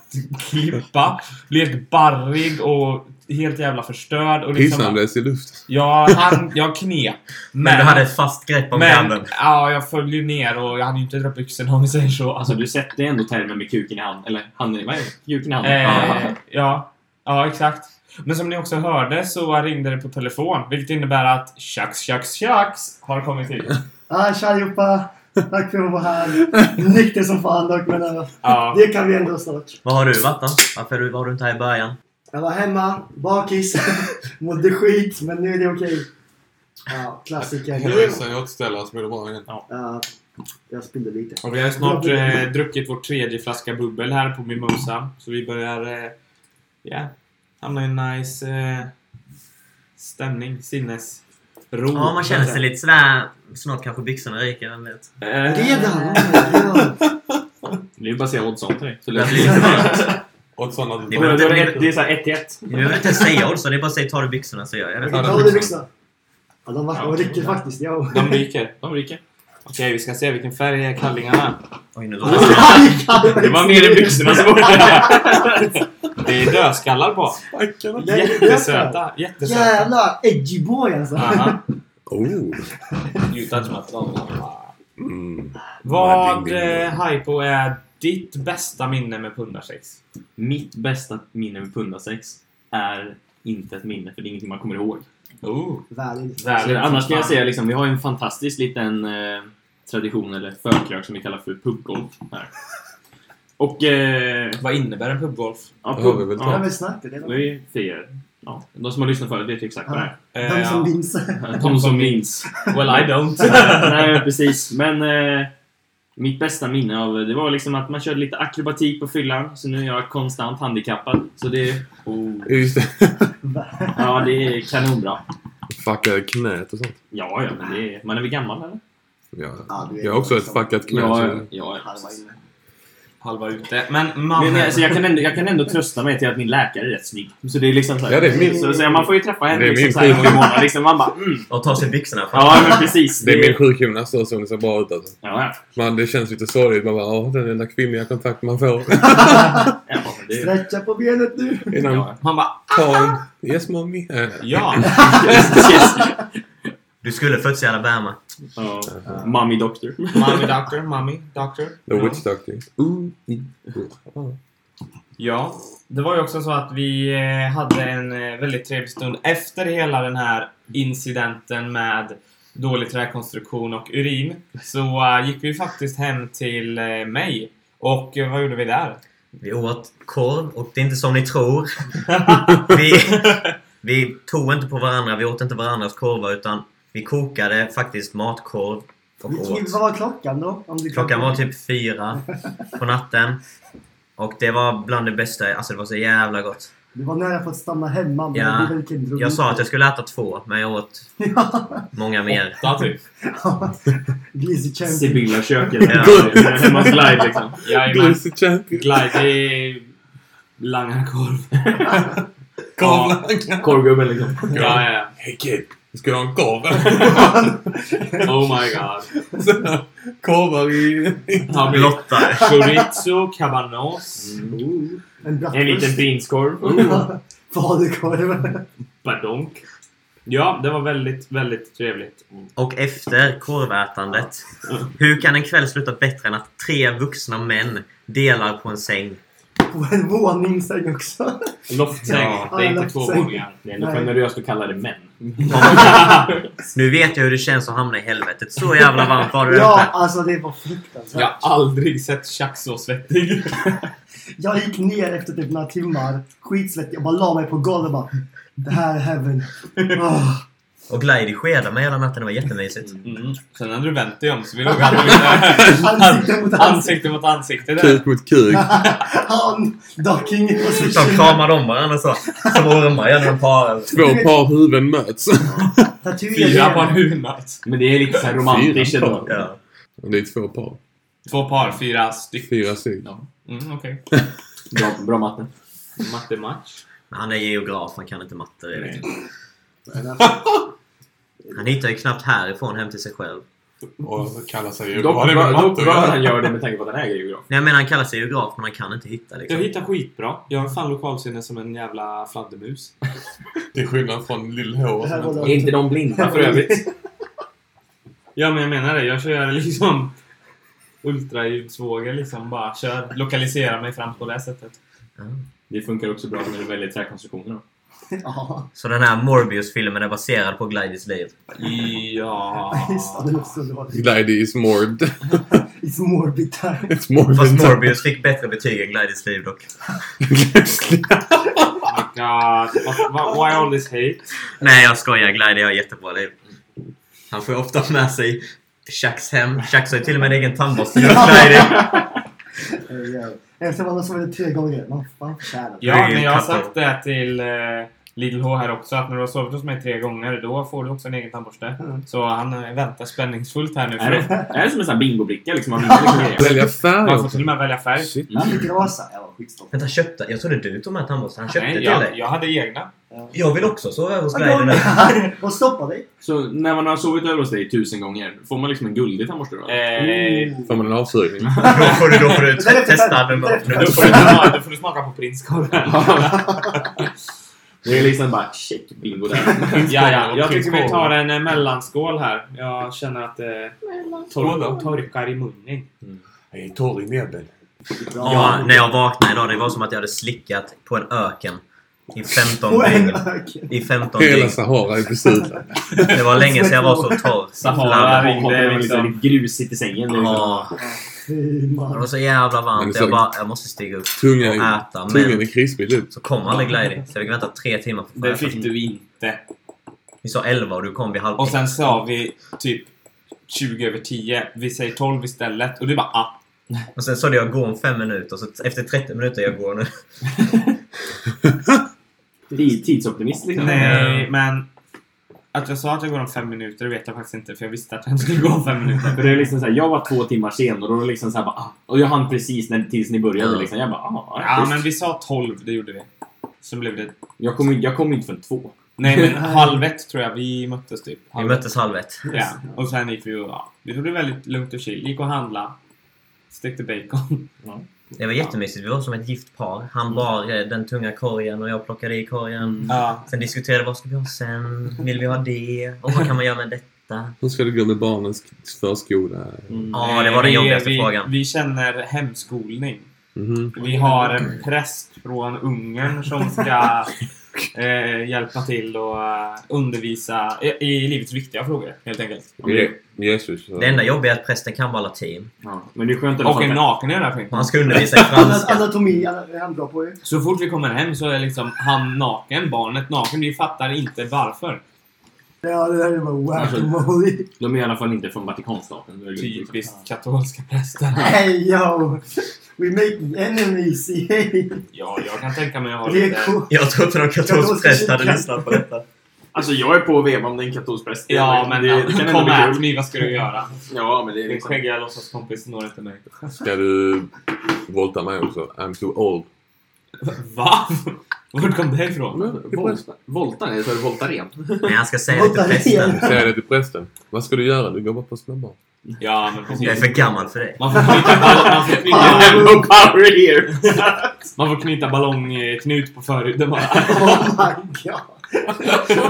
Speaker 1: klippa. Blir helt barrig och helt jävla förstörd. Och liksom,
Speaker 2: Pissandes i luften.
Speaker 1: ja, han, jag knep. Men,
Speaker 3: Men du hade ett fast grepp om
Speaker 1: men
Speaker 3: grabben.
Speaker 1: ja, jag föll ju ner och jag hade ju inte dra upp byxorna om vi säger så.
Speaker 4: Alltså du sätter ändå termen med kuken i handen. Eller handen, vad är det? Kuken i handen.
Speaker 1: Eh,
Speaker 4: Ja.
Speaker 1: ja, ja, exakt. Men som ni också hörde så ringde det på telefon, vilket innebär att Tjax Tjax Tjax har kommit hit.
Speaker 5: Ah, tja allihopa! Tack för att du var här. Nykter som fan dock, men eh,
Speaker 1: Ja.
Speaker 5: det kan vi ändå snart.
Speaker 3: Vad har du varit då? Varför du- var du inte här i början?
Speaker 5: Jag var hemma, bakis, mådde skit, men nu är det okej. Ja, klassiker.
Speaker 2: Hela resan återställare så blir det bra igen.
Speaker 5: Ja, jag spillde lite.
Speaker 1: Och vi har ju snart eh, druckit vår tredje flaska bubbel här på Mimosa. Så vi börjar... eh, Ja. hamna i en nice eh, stämning. Sinnesro.
Speaker 3: Ja, man känner sig lite sådär... Snart kanske byxorna ryker, vem vet?
Speaker 4: Eh.
Speaker 5: Redan? Oh my god.
Speaker 4: Det är ju bara att säga odds on till dig. Så
Speaker 3: Det
Speaker 4: det,
Speaker 2: Och sådana...
Speaker 3: Det
Speaker 4: Då är
Speaker 3: var-
Speaker 4: det, då är det, det är såhär 1 till 1.
Speaker 3: Nu behöver du inte ens säga odds, det är bara att säga ta du byxorna så gör jag det.
Speaker 5: Vilken tavla du byxorna? Ja, de var
Speaker 4: Ja,
Speaker 5: de rycker
Speaker 4: ja.
Speaker 5: faktiskt. Ja.
Speaker 1: De ryker.
Speaker 4: De ryker.
Speaker 1: Okej, vi ska se vilken färg är kallingarna.
Speaker 3: Oj, nu låter det.
Speaker 5: Det
Speaker 1: Det var mer än byxorna som Det är dödskallar på. Jättesöta. Jättesöta.
Speaker 5: Jävla edgy boy alltså.
Speaker 1: Aha.
Speaker 2: Oh!
Speaker 1: You touch my throat.
Speaker 2: Mm.
Speaker 1: Vad,
Speaker 2: Ding, ding, ding.
Speaker 1: eh, Hypo, är ditt bästa minne med pundarsex?
Speaker 4: Mitt bästa minne med pundasex är inte ett minne, för det är ingenting man kommer ihåg.
Speaker 1: Oh,
Speaker 5: Värdig.
Speaker 4: Eller, annars kan jag säga liksom, vi har ju en fantastisk liten eh, tradition eller förkrök som vi kallar för pubgolf här. Och... Eh,
Speaker 1: Vad innebär en pubgolf?
Speaker 4: ja,
Speaker 2: Det har vi väl
Speaker 5: Det var
Speaker 4: ja,
Speaker 5: väl snabbt det.
Speaker 4: vi är fyra. Ja, de som har lyssnat förut vet ju exakt vad det är.
Speaker 5: De som minns.
Speaker 4: De som minns.
Speaker 1: Eh,
Speaker 4: Eh,
Speaker 1: Well, I don't.
Speaker 4: Nej, precis. Men eh, mitt bästa minne av det var liksom att man körde lite akrobatik på fyllan. Så nu är jag konstant handikappad. Så det, oh,
Speaker 2: Just det.
Speaker 4: ja, det är kanonbra.
Speaker 2: Fuckade knät och sånt.
Speaker 4: Ja, ja, men det är, man är väl gammal eller?
Speaker 2: Ja.
Speaker 5: Ja, du är
Speaker 2: Jag har också ett
Speaker 5: liksom
Speaker 2: fuckat knä.
Speaker 4: Ja,
Speaker 2: så-
Speaker 4: ja. ja.
Speaker 5: halva inne.
Speaker 1: Halva ute. Men
Speaker 4: Men,
Speaker 1: mannen...
Speaker 4: alltså, jag, kan ändå, jag kan ändå trösta mig till att min läkare är rätt snygg. Så det är liksom så här,
Speaker 2: Ja, det är min-
Speaker 4: så, så, man får ju träffa henne
Speaker 2: Det är
Speaker 4: liksom,
Speaker 2: min
Speaker 4: så här,
Speaker 2: sjukdom.
Speaker 4: någon månad, liksom, Man bara mm.
Speaker 3: Och ta sig byxorna fram.
Speaker 4: Ja, men precis.
Speaker 2: Det är min sjukgymnast då, så hon ser bra ut alltså.
Speaker 4: Ja, ja.
Speaker 2: Man, det känns lite sorgligt. Man bara, ja, den enda kvinnliga kontakt man får.
Speaker 4: ja men det,
Speaker 5: Stretcha på benet nu.
Speaker 2: Innan
Speaker 4: ja.
Speaker 1: Han bara
Speaker 2: Karl... Yes mommy. Eh,
Speaker 1: ja.
Speaker 4: Yes.
Speaker 3: Du skulle fötts i Alabama.
Speaker 4: Ja. Mommy doctor.
Speaker 1: Mommy doctor, mommy doctor.
Speaker 2: The
Speaker 1: Ja.
Speaker 2: witch doctor. Ooh, mm, ooh.
Speaker 1: Ja. Det var ju också så att vi eh, hade en eh, väldigt trevlig stund efter hela den här incidenten med dålig träkonstruktion och urin. Så eh, gick vi faktiskt hem till eh, mig. Och eh, vad gjorde vi där?
Speaker 3: Vi åt korv och det är inte som ni tror. Vi, vi tog inte på varandra, vi åt inte varandras korvar utan vi kokade faktiskt matkorv och åt.
Speaker 5: Vilken- Vad var klockan då? Om du
Speaker 3: Klockan var typ fyra på natten. Och det var bland det bästa, alltså det var så jävla gott.
Speaker 5: Du var nära på att stanna hemma. Men
Speaker 3: Ja,
Speaker 5: det blev en kindrum.
Speaker 3: Jag sa att jag skulle äta två, men jag åt många mer.
Speaker 1: Ja, typ.
Speaker 5: Glizzy champion.
Speaker 4: Sibylla köket.
Speaker 3: Ja.
Speaker 4: Ja. Man slide liksom.
Speaker 1: Jajamän.
Speaker 2: Glitzy champion.
Speaker 1: Glide i langarkorv.
Speaker 2: Karl.
Speaker 4: Korvgubben liksom.
Speaker 1: Ja, ja,
Speaker 2: Hey kid. Ska du ha en korv?
Speaker 1: ja. Oh my god.
Speaker 2: Så, Korvar i...
Speaker 1: Har vi
Speaker 3: Lotta.
Speaker 1: chorizo, cabanos,
Speaker 5: En
Speaker 4: En liten
Speaker 5: bratwurst.
Speaker 4: prinskorv.
Speaker 1: Mm.
Speaker 5: Falukorv.
Speaker 1: badonk. Ja, det var väldigt, väldigt trevligt.
Speaker 3: Och efter korvätandet. Hur kan en kväll sluta bättre än att tre vuxna män delar på en säng?
Speaker 5: Och en våningssäng också.
Speaker 1: Loftsäng.
Speaker 3: Ja.
Speaker 1: det är inte
Speaker 5: Ja,
Speaker 1: två
Speaker 5: loftsäng.
Speaker 1: våningar.
Speaker 4: Det är ändå
Speaker 5: Nej.
Speaker 4: generöst att kalla det män.
Speaker 3: Nu vet jag hur det känns att hamna i helvetet. Så jävla varmt var det
Speaker 5: Ja,
Speaker 3: uppe.
Speaker 5: alltså det var
Speaker 1: Jag
Speaker 5: fruktansvärt.
Speaker 1: har aldrig sett Chuck så svettig.
Speaker 5: Jag gick ner efter typ några timmar, skitsvettig, och bara la mig på golvet och bara Det här är heaven. Åh,
Speaker 3: Och Glidey skedade mig hela natten. Det var jättemysigt.
Speaker 1: Mm. Sen hade du vänt dig om så vi låg ansikte,
Speaker 5: ansikte mot ansikte.
Speaker 1: ansikte mot ansikte där.
Speaker 2: Kuk mot kuk.
Speaker 5: Han, docking och så
Speaker 3: De kramade om varandra så. Som ormar genom en parel.
Speaker 2: Två par huvuden möts.
Speaker 1: Fyra på en
Speaker 5: Tatueringar.
Speaker 1: huvudnatt.
Speaker 4: Men det är lite så här romantiskt
Speaker 2: Fyra.
Speaker 4: ändå.
Speaker 3: Ja.
Speaker 2: Det är två par.
Speaker 1: Två par, fyra stycken.
Speaker 2: Fyra stycken.
Speaker 1: Ja. Mm, Okej.
Speaker 4: Bra, bra matte.
Speaker 1: Mattematch.
Speaker 3: Men han är geograf. Han kan inte matte. Det vet jag.
Speaker 5: Därför-
Speaker 3: Han hittar ju knappt härifrån hem till sig själv.
Speaker 2: Och kallar sig ju...
Speaker 4: Dock
Speaker 2: Vad är det med
Speaker 4: bra dock
Speaker 2: matte att
Speaker 4: bra
Speaker 2: göra?
Speaker 4: att han gör det med tanke på att han äger geograf.
Speaker 3: Nej, jag menar han kallar sig geograf men han kan inte hitta
Speaker 1: Jag
Speaker 3: liksom.
Speaker 1: hittar skitbra. Jag har fan lokalsinne som en jävla fladdermus.
Speaker 2: Till skillnad från Lill H.
Speaker 5: Det här var
Speaker 4: Är inte de blinda för övrigt?
Speaker 1: Ja, men jag menar det. Jag kör liksom ultraljudsvågor liksom. Bara kör, lokalisera mig fram på det sättet.
Speaker 3: Ja.
Speaker 4: Det funkar också bra med väldigt träkonstruktioner. då.
Speaker 5: Ja,
Speaker 3: Så den här Morbius-filmen är baserad på Glidys liv.
Speaker 4: Ja.
Speaker 5: just det. Det låter så dåligt.
Speaker 2: Glidey is morbid.
Speaker 5: It's morbid time.
Speaker 2: It's morbid.
Speaker 3: Fast Morbius fick bättre betyg än Glidys liv dock.
Speaker 1: Oh my god. What- what- Why all this hate?
Speaker 3: Nej, jag skojar. Glidy har jättebra liv. Han får ju ofta med sig Chucks hem. Chucks har ju till och med en egen tandborste. nu, Glidy.
Speaker 5: Eh, ja. Efter man har sovit tre gånger. Man fan förtjänar det.
Speaker 1: Ja,
Speaker 3: Det är ju
Speaker 1: men jag har
Speaker 3: katt-
Speaker 1: sagt det till eh, Lidl H här också att när du har sovit hos mig tre gånger då får du också en egen tandborste.
Speaker 5: Mm.
Speaker 1: Så han eh, väntar spänningsfullt här nu.
Speaker 4: Är
Speaker 1: För
Speaker 4: det, är det som en sån här bingobricka liksom? Man vinner liksom grejer.
Speaker 2: Välja färg
Speaker 1: man får till och
Speaker 2: också.
Speaker 1: med välja färg.
Speaker 2: Shit.
Speaker 5: Jag fick rosa. Jag var skitstolt.
Speaker 3: Vänta, köpte... Jag trodde du tog med tandborsten. Han köpte
Speaker 1: Nej,
Speaker 3: till
Speaker 1: jag,
Speaker 3: dig.
Speaker 1: jag hade egna.
Speaker 5: Eh,
Speaker 3: Jag vill också sova över hos
Speaker 5: Jag
Speaker 3: Glidy
Speaker 5: kom
Speaker 3: nu.
Speaker 5: här och stoppade dig.
Speaker 4: Så när man har sovit över hos dig tusen gånger, får man liksom en guldig tandborste då?
Speaker 5: Mm.
Speaker 1: Eh,
Speaker 2: Får man en avsugning?
Speaker 3: Då får du, då får du
Speaker 5: Det där är för
Speaker 3: testa
Speaker 5: fan-
Speaker 3: den.
Speaker 5: det där är för
Speaker 1: då, får du, smaka- då får du smaka på prinskorven.
Speaker 4: Det är liksom bara check bingo där.
Speaker 1: Ja, ja, jag
Speaker 4: Och
Speaker 1: tycker vi
Speaker 4: prinskorv.
Speaker 1: tar en eh, mellanskål här. Jag känner att det tor- torkar i munnen.
Speaker 2: Jag är torr i näbben.
Speaker 3: Ja, när jag vaknade idag, det var som att jag hade slickat på en öken. I 15
Speaker 5: Och en
Speaker 3: dygn.
Speaker 5: öken.
Speaker 3: I 15
Speaker 2: Hela
Speaker 3: dygn.
Speaker 2: Sahara är besudlad.
Speaker 3: Det var länge sedan jag var så torr.
Speaker 1: Sahara
Speaker 4: Har man
Speaker 1: ringde
Speaker 4: liksom
Speaker 1: liksom.
Speaker 4: lite grusigt i sängen. Det är liksom.
Speaker 3: Ja,
Speaker 5: Fy
Speaker 3: det
Speaker 5: man.
Speaker 3: var så jävla
Speaker 2: Men
Speaker 3: varmt.
Speaker 2: det är
Speaker 3: Jag
Speaker 2: så-
Speaker 3: bara, jag måste stiga upp och
Speaker 2: Tungan, är-
Speaker 3: äta.
Speaker 2: tungan är
Speaker 3: Men
Speaker 2: krispig typ.
Speaker 3: så kom aldrig Glidy. Så jag fick vänta tre timmar på
Speaker 1: Det
Speaker 4: liksom
Speaker 3: förrätten.
Speaker 1: fick du inte.
Speaker 3: Vi sa 11 och du kom vid halv
Speaker 1: Och sen sa vi typ 20 över 10. Vi säger 12 istället. Och du bara ah.
Speaker 3: Och sen sa du jag går om 5 minuter. Så t- efter 30 minuter jag går nu.
Speaker 4: I- Tidsoptimist liksom.
Speaker 1: Nej, men... Att jag sa att jag går om fem minuter vet jag faktiskt inte för jag visste att jag inte skulle gå om fem minuter.
Speaker 4: För det är liksom så här, jag var två timmar sen och då var det liksom så här bara, ah. Och jag hann precis när, tills ni började
Speaker 3: Ja.
Speaker 4: liksom. Jag bara ah,
Speaker 1: Ja,
Speaker 4: visst.
Speaker 1: men vi sa 12, det gjorde vi. Så blev det...
Speaker 4: Jag kom, jag kom inte förrän två.
Speaker 1: Nej, men halv ett tror jag vi möttes typ.
Speaker 3: Vi
Speaker 1: Halv ett.
Speaker 3: möttes halv ett.
Speaker 1: Ja, och sen gick vi och... Ja, det blev väldigt lugnt och chill. Gick och handla. Stekte bacon.
Speaker 3: Det var jättemysigt. Vi var som ett gift par. Han bar eh, den tunga korgen och jag plockade i korgen.
Speaker 1: Ja.
Speaker 3: Sen diskuterade vad ska vi ha sen? Vill vi ha det? Och vad kan man göra med detta?
Speaker 2: Hur ska det gå med barnens förskola?
Speaker 3: Ja, det var den
Speaker 1: Vi-
Speaker 3: jobbigaste
Speaker 1: Eh, vi,
Speaker 3: frågan.
Speaker 1: Vi känner hemskolning.
Speaker 2: Mhm.
Speaker 1: Vi har en präst från Ungern som ska eh, hjälpa till och eh, undervisa i, i livets viktiga frågor, helt enkelt.
Speaker 2: Je- Jesus.
Speaker 3: Det enda jobbiga är att prästen kan vara latin.
Speaker 4: Ja. Men det är skönt i alla
Speaker 1: Och
Speaker 4: fall
Speaker 1: är
Speaker 4: att-
Speaker 1: naken i den här filmen.
Speaker 3: Han ska undervisa i franska.
Speaker 5: Anatomi är han bra på ju.
Speaker 1: Så fort vi kommer hem så är liksom han naken, barnet naken. Vi fattar inte varför.
Speaker 5: Ja, det där var
Speaker 3: Alltså.
Speaker 5: whack-a-mole.
Speaker 4: De är i alla fall inte från Vatikanstaten. Det är liksom-
Speaker 1: Typiskt katolska präster.
Speaker 5: Hey yo! We make enemies! Yay!
Speaker 1: Ja, jag kan tänka mig att ha
Speaker 5: Det
Speaker 1: lite...
Speaker 5: är coolt.
Speaker 3: Jag tror inte någon katolsk präst hade lyssnat på detta.
Speaker 4: Alltså jag är på att veva om det är en katolsk präst.
Speaker 1: Ja, men
Speaker 4: det,
Speaker 1: det, kom här mig, vad ska du göra?
Speaker 4: Ja, men det är
Speaker 1: Min
Speaker 4: liksom...
Speaker 1: skäggiga låtsaskompis når inte mig.
Speaker 2: Ska du våldta mig också? I'm too old.
Speaker 1: Va? Vart kom det ifrån?
Speaker 4: Volta? Volta? Nej, så är det Voltaren.
Speaker 3: Nej, han ska säga det till
Speaker 5: Voltaren.
Speaker 3: prästen.
Speaker 2: Säg det till prästen. Vad ska du göra? Du går bara på småbarn.
Speaker 1: Ja, men precis.
Speaker 3: Jag är för gammal för det.
Speaker 1: Man får knyta, ball- man får
Speaker 5: Fan.
Speaker 1: knyta,
Speaker 4: No power here!
Speaker 1: man får knyta ballongknut på förhuden bara.
Speaker 5: Oh my god!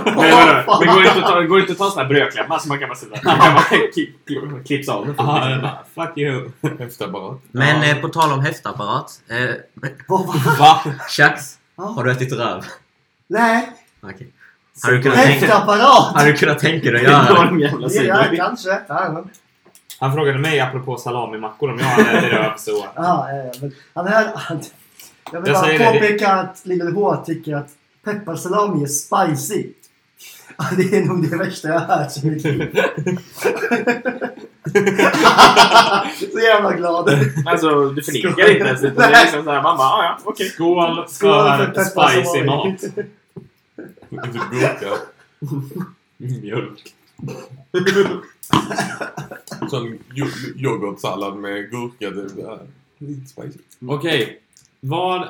Speaker 4: Men vadå? det går inte att ta, det går inte att ta en sån här brödklämma som man kan bara sätta... Man kan bara ki- ki- klipsa av den.
Speaker 1: Ja, det är bara, Fuck you.
Speaker 2: Häftapparat.
Speaker 3: Men eh, på tal om häftapparat. Eh,
Speaker 5: Vad va?
Speaker 1: Va?
Speaker 3: Chucks,
Speaker 5: Ja.
Speaker 3: har du ätit röv?
Speaker 5: Nej!
Speaker 3: Okej. Har du kunnat tänka,
Speaker 5: Häftapparat!
Speaker 3: har du kunnat tänka dig att
Speaker 4: Det var
Speaker 3: göra det?
Speaker 4: de jävla
Speaker 5: Ja,
Speaker 4: sidorna.
Speaker 5: kanske. Ja,
Speaker 1: Han frågade mig apropå salamimackor om jag hade röv så.
Speaker 5: ja, ja, men han är... Han, jag vill
Speaker 1: Jag
Speaker 5: bara
Speaker 1: säger det, det-
Speaker 5: påpeka att Lille H tycker att pepparsalami är spicy. Ja, Det är nog det värsta jag har hört i mitt liv. Så jävla glad.
Speaker 4: Alltså, du förnekar inte ens. utan Det är liksom så här, man bara, ah, ja, okej.
Speaker 1: Skål
Speaker 5: Skål för
Speaker 1: för spicy
Speaker 5: pepparsalami.
Speaker 1: mat.
Speaker 2: Gurka.
Speaker 1: Mjölk.
Speaker 2: Sån yo- yoghurtsallad med gurka. Det är lite spicy.
Speaker 4: Mm.
Speaker 1: Okej. Vad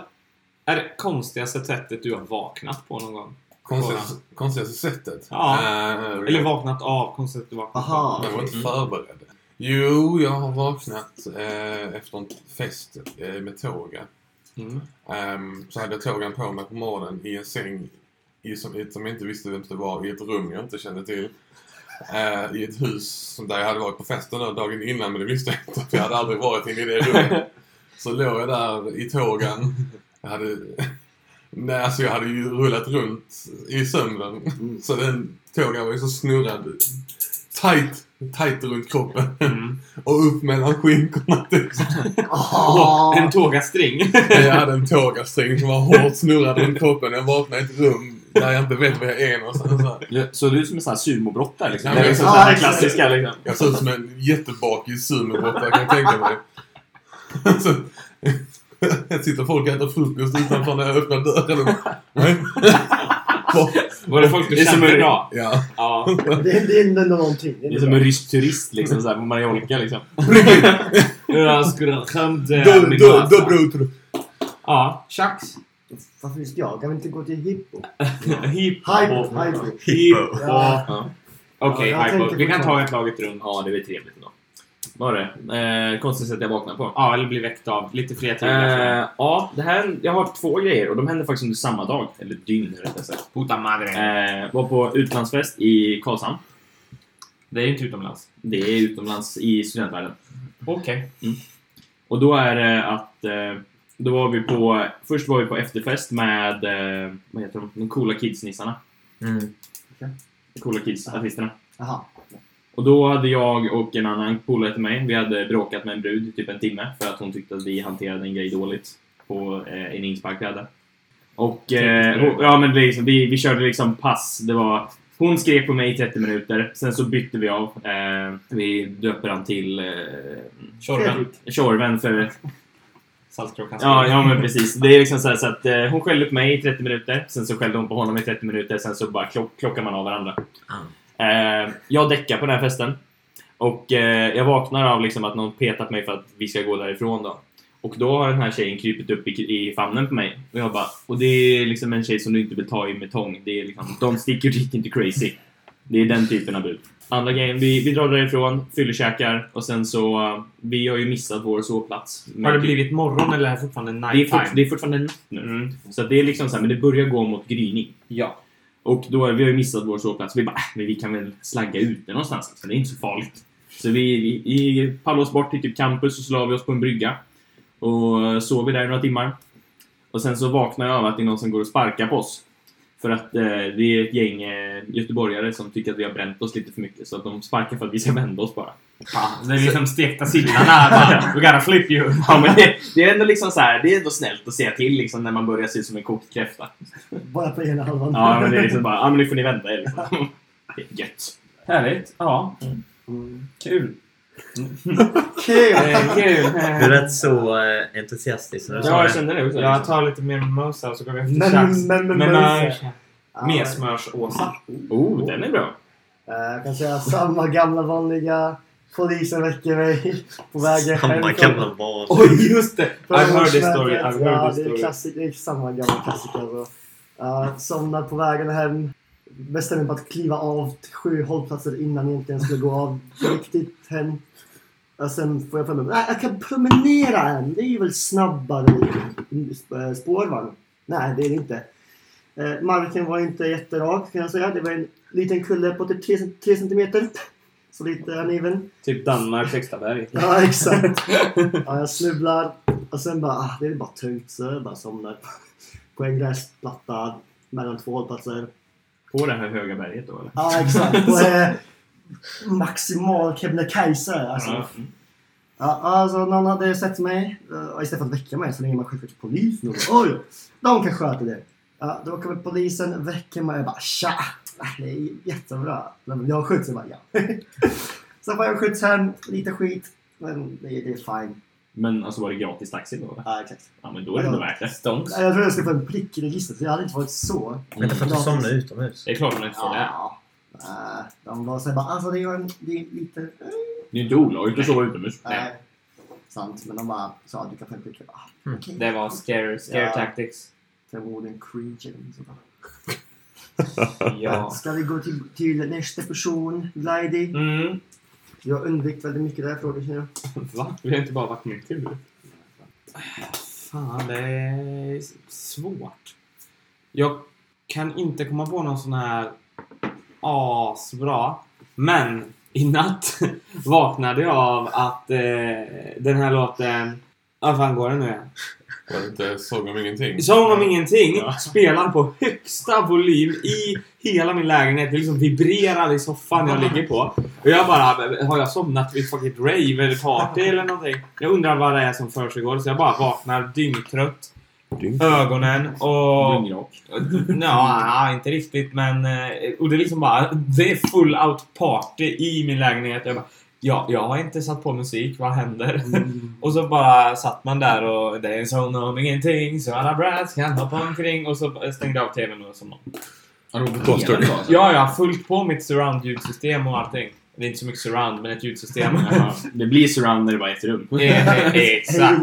Speaker 1: är det konstigaste sättet du har vaknat på någon gång?
Speaker 2: Konstigaste, konstigaste sättet?
Speaker 1: Ja.
Speaker 2: Eh,
Speaker 1: Eller vaknat av? Konstigt att du vaknat av.
Speaker 5: Aha.
Speaker 2: Jag var inte förberedd. Mm. Jo, jag har vaknat eh, efter en fest eh, med tågen.
Speaker 1: Mm.
Speaker 2: Ehm, så hade jag tågen på mig på morgonen i en säng i, som, som jag inte visste vem det var, i ett rum jag inte kände till. Eh, I ett hus som där jag hade varit på festen då, dagen innan, men det visste jag inte för jag hade aldrig varit inne i det rummet. Så låg jag där i tågen. Jag hade Nej, alltså jag hade ju rullat runt i sömnen. Så den tågan var ju så snurrad. Tight, tight runt kroppen.
Speaker 1: Mm.
Speaker 2: Och upp mellan skinkorna typ.
Speaker 1: Åh,
Speaker 5: Ah,
Speaker 1: en tågastring.
Speaker 2: Jag hade en tågastring som var hårt snurrad runt kroppen. Jag vaknade i ett rum där jag inte vet var jag är någonstans. Så här.
Speaker 4: Ja, Så du är som en sån här sumobrottare liksom?
Speaker 2: Ja,
Speaker 4: Det är liksom
Speaker 2: ja,
Speaker 4: så här
Speaker 5: exakt.
Speaker 4: klassiska liksom.
Speaker 2: Jag såg ut som en jättebakis sumobrottare kan jag tänka mig. Så, jag sitter folk och äter frukost utanför när jag öppnar dörren. och bara, Nej.
Speaker 1: Var det folk du
Speaker 4: Det är som
Speaker 1: kände
Speaker 4: en-
Speaker 1: bra?
Speaker 2: Ja.
Speaker 1: Ja.
Speaker 5: det, det är ändå någonting. Det
Speaker 4: Det
Speaker 5: är
Speaker 4: är som en
Speaker 5: bra.
Speaker 4: rysk turist liksom såhär på Mallorca liksom.
Speaker 1: Jag skulle skämta
Speaker 2: Då,
Speaker 1: min
Speaker 2: då,
Speaker 1: massa.
Speaker 2: då bror.
Speaker 1: Ja, tjax.
Speaker 5: Varför just jag? Kan vi inte gå till hippo?
Speaker 1: Hippo.
Speaker 5: Hypo, hypo.
Speaker 1: Hippo.
Speaker 5: Ja.
Speaker 1: Okej,
Speaker 5: Ja, jag
Speaker 1: hypo.
Speaker 5: tänkte
Speaker 1: Vi
Speaker 5: på
Speaker 1: kan
Speaker 5: det.
Speaker 1: ta ett laget runt.
Speaker 4: Ja, det blir trevligt ändå. Var det? Eh, konstigt sätt jag vaknade på.
Speaker 1: Ja, eller bli väckt av lite fler tyglar.
Speaker 4: Eh, ja, det här, jag har två grejer och de hände faktiskt under samma dag. Eller dygn rättare sagt.
Speaker 1: Puta madre.
Speaker 4: Eh, var på utlandsfest i Karlshamn.
Speaker 1: Det är ju inte utomlands.
Speaker 4: Det är utomlands i studentvärlden.
Speaker 1: Okej.
Speaker 4: Och då är det att... eh, Då var vi på... Först var vi på efterfest med... eh, Vad heter de? De coola kidsnissarna.
Speaker 3: Mm.
Speaker 4: De coola kidsartisterna.
Speaker 5: Aha.
Speaker 4: Och då hade jag och en annan polare till mig, vi hade bråkat med en brud i typ en timme för att hon tyckte att vi hanterade en grej dåligt på eh, en inspark vi hade. Och, eh, och ja men det är liksom, vi, vi körde liksom pass. Det var, hon skrev på mig i 30 minuter, sen så bytte vi av. Eh, vi döper han till eh,
Speaker 1: Tjorven.
Speaker 4: Tjorven för
Speaker 1: Saltkråkan.
Speaker 4: Ja, ja men precis. Det är liksom så, här, så att eh, hon skällde på mig i 30 minuter, sen så skällde hon på honom i 30 minuter, sen så bara klock, klockar man av varandra. Eh, jag däckar på den här festen. Och eh, jag vaknar av liksom att någon petat mig för att vi ska gå därifrån då. Och då har den här tjejen krypit upp i, i famnen på mig. Och jag bara, och det är liksom en tjej som du inte vill ta i med tång. Det är liksom, don't stick your dick into crazy. Det är den typen av bud. Andra grejen, vi, vi drar därifrån, fyllerkäkar och sen så, eh, vi har ju missat vår sovplats.
Speaker 1: Har det
Speaker 4: Men-
Speaker 1: blivit morgon eller är det fortfarande night
Speaker 4: det är, fort,
Speaker 1: time?
Speaker 4: det är fortfarande natt nu. Så att det är liksom så här, men det börjar gå mot gryning.
Speaker 1: Ja.
Speaker 4: Och då, är- vi har ju missat vår sovplats. Vi bara, äh, men vi kan väl slagga ute någonstans. Alltså, det är inte så farligt. Så vi, vi, vi pallar oss bort till typ campus och så la vi oss på en brygga. Och eh, sov vi där i några timmar. Och sen så vaknar jag av att det är någon som går och sparkar på oss. För att eh, det är ett gäng eh, göteborgare som tycker att vi har bränt oss lite för mycket. Så att de sparkar för att vi ska vända oss bara.
Speaker 1: Fan, det är liksom stekta sillarna här bara. We gotta flip you.
Speaker 4: Ja, men det, det är ändå liksom så här, det är ändå snällt att säga till liksom när man börjar se ut som en kokt kräfta.
Speaker 5: Bara på ena halvan.
Speaker 4: Ja, men det är liksom bara, ja men nu får ni vända er liksom. Det är gött.
Speaker 1: Härligt. Ja. Kul.
Speaker 5: Okej.
Speaker 1: Eh, Kul.
Speaker 3: Du lät så eh, entusiastisk när du
Speaker 4: Ja,
Speaker 3: sa
Speaker 4: jag
Speaker 3: det.
Speaker 4: kände det också.
Speaker 1: Jag tar lite mer mimosa och så går vi efter
Speaker 5: Men-
Speaker 1: tjafs.
Speaker 5: men- men-
Speaker 1: Menage.
Speaker 5: Ah,
Speaker 1: Mesmörs-Åsa.
Speaker 4: Oh, den är bra.
Speaker 5: eh, Jag kan säga samma gamla vanliga. Polisen väcker mig på vägen
Speaker 3: Samma
Speaker 5: hemifrån.
Speaker 3: gamla barn.
Speaker 1: Oj, just det!
Speaker 5: Från
Speaker 1: I've heard this
Speaker 5: Lunchmötet.
Speaker 1: story. I've
Speaker 5: ja,
Speaker 1: heard
Speaker 5: det
Speaker 1: this
Speaker 5: är,
Speaker 1: story.
Speaker 5: klassik, det är samma gamla klassiker. Alltså. Uh, somnar på vägen hem. Bestämmer mig på att kliva av till sju hållplatser innan jag egentligen skulle gå av riktigt hem. Och sen får jag för mig "Nej, jag kan promenera hem. Det är ju väl snabbare eh, spårvagn. Nej, det är det inte. Eh, marken var inte jätterak kan jag säga. Det var en liten kulle på typ 3, centimeter. Så lite uneven.
Speaker 1: Typ Danmarks högsta berg.
Speaker 5: Ja, exakt. Ja, jag snubblar och sen bara, ah, det är bara tungt. Så jag bara somnar på en gräsplatta mellan två hållplatser.
Speaker 4: På det här höga berget då eller?
Speaker 5: Ja, exakt. Och, eh, maximal Kebnekaise. Alltså. Ja. alltså, någon hade sett mig eh, och istället för att väcka mig så ringer man självklart till polisen. Och bara, Oj, de kan sköta det. Ja, då kommer polisen, väcker mig och jag bara tja! Det är jättebra. Men Jag skjuts, jag bara ja. Sen får jag skjuts hem, lite skit. Men det, det är fine.
Speaker 4: Men alltså var det gratis taxi då? eller?
Speaker 5: Ja, exakt.
Speaker 4: Ja, men då är det ändå värt det.
Speaker 1: Stones.
Speaker 5: Jag trodde jag skulle få en prick i registret, så jag hade inte varit så...
Speaker 3: Vänta för att du
Speaker 5: gratis.
Speaker 3: somnade utomhus.
Speaker 4: Det är klart man inte får det.
Speaker 5: Ja. Äh, De var såhär bara, alltså det är, en, det är lite... eh,
Speaker 4: Det är ju inte olagligt att sova utomhus.
Speaker 5: Nej. Sant, men de bara sa att du kan få en prick. Jag bara, ah,
Speaker 3: Mm.
Speaker 5: Okej.
Speaker 1: Det var scare, scare
Speaker 5: Ja.
Speaker 1: tactics.
Speaker 5: Förmodligen cringe. Så bara,
Speaker 1: Ja.
Speaker 5: liksom. Ska vi gå till, till nästa person, Glidey?
Speaker 1: Mm.
Speaker 5: Jag undvek väldigt mycket där frågan känner jag.
Speaker 1: Va? Vi har inte bara varit med kul. Fan, det är s- svårt. Jag kan inte komma på någon sån här asbra. Men i natt vaknade jag av att eh, den här låten Vad fan går det nu igen?
Speaker 2: Var det inte Såg om ingenting?
Speaker 1: Som om ingenting spelar på högsta volym i hela min lägenhet. Det liksom vibrerar i soffan jag ligger på. Och jag bara, har jag somnat vid ett fucking rave eller party eller någonting? Jag undrar vad det är som försiggår så jag bara vaknar dyngtrött.
Speaker 2: Dygn.
Speaker 1: Ögonen och...
Speaker 4: Dyngrak.
Speaker 1: Ja, inte riktigt men... eh, Och det är liksom bara... Det är full out party i min lägenhet. Jag bara, ja, jag har inte satt på musik. Vad händer? Och så bara satt man där och det är som om ingenting så alla brats kan hoppa omkring och så stängde jag av TVn och så
Speaker 4: Ja, det var
Speaker 2: Kostar det?
Speaker 4: helt bra, alltså.
Speaker 1: Ja, jag har fullt på mitt surround-ljudsystem och allting. Det är inte så mycket surround, men ett ljudsystem.
Speaker 4: Jaha, Det blir surround när det bara är ett rum.
Speaker 1: Eh, eh, Exakt.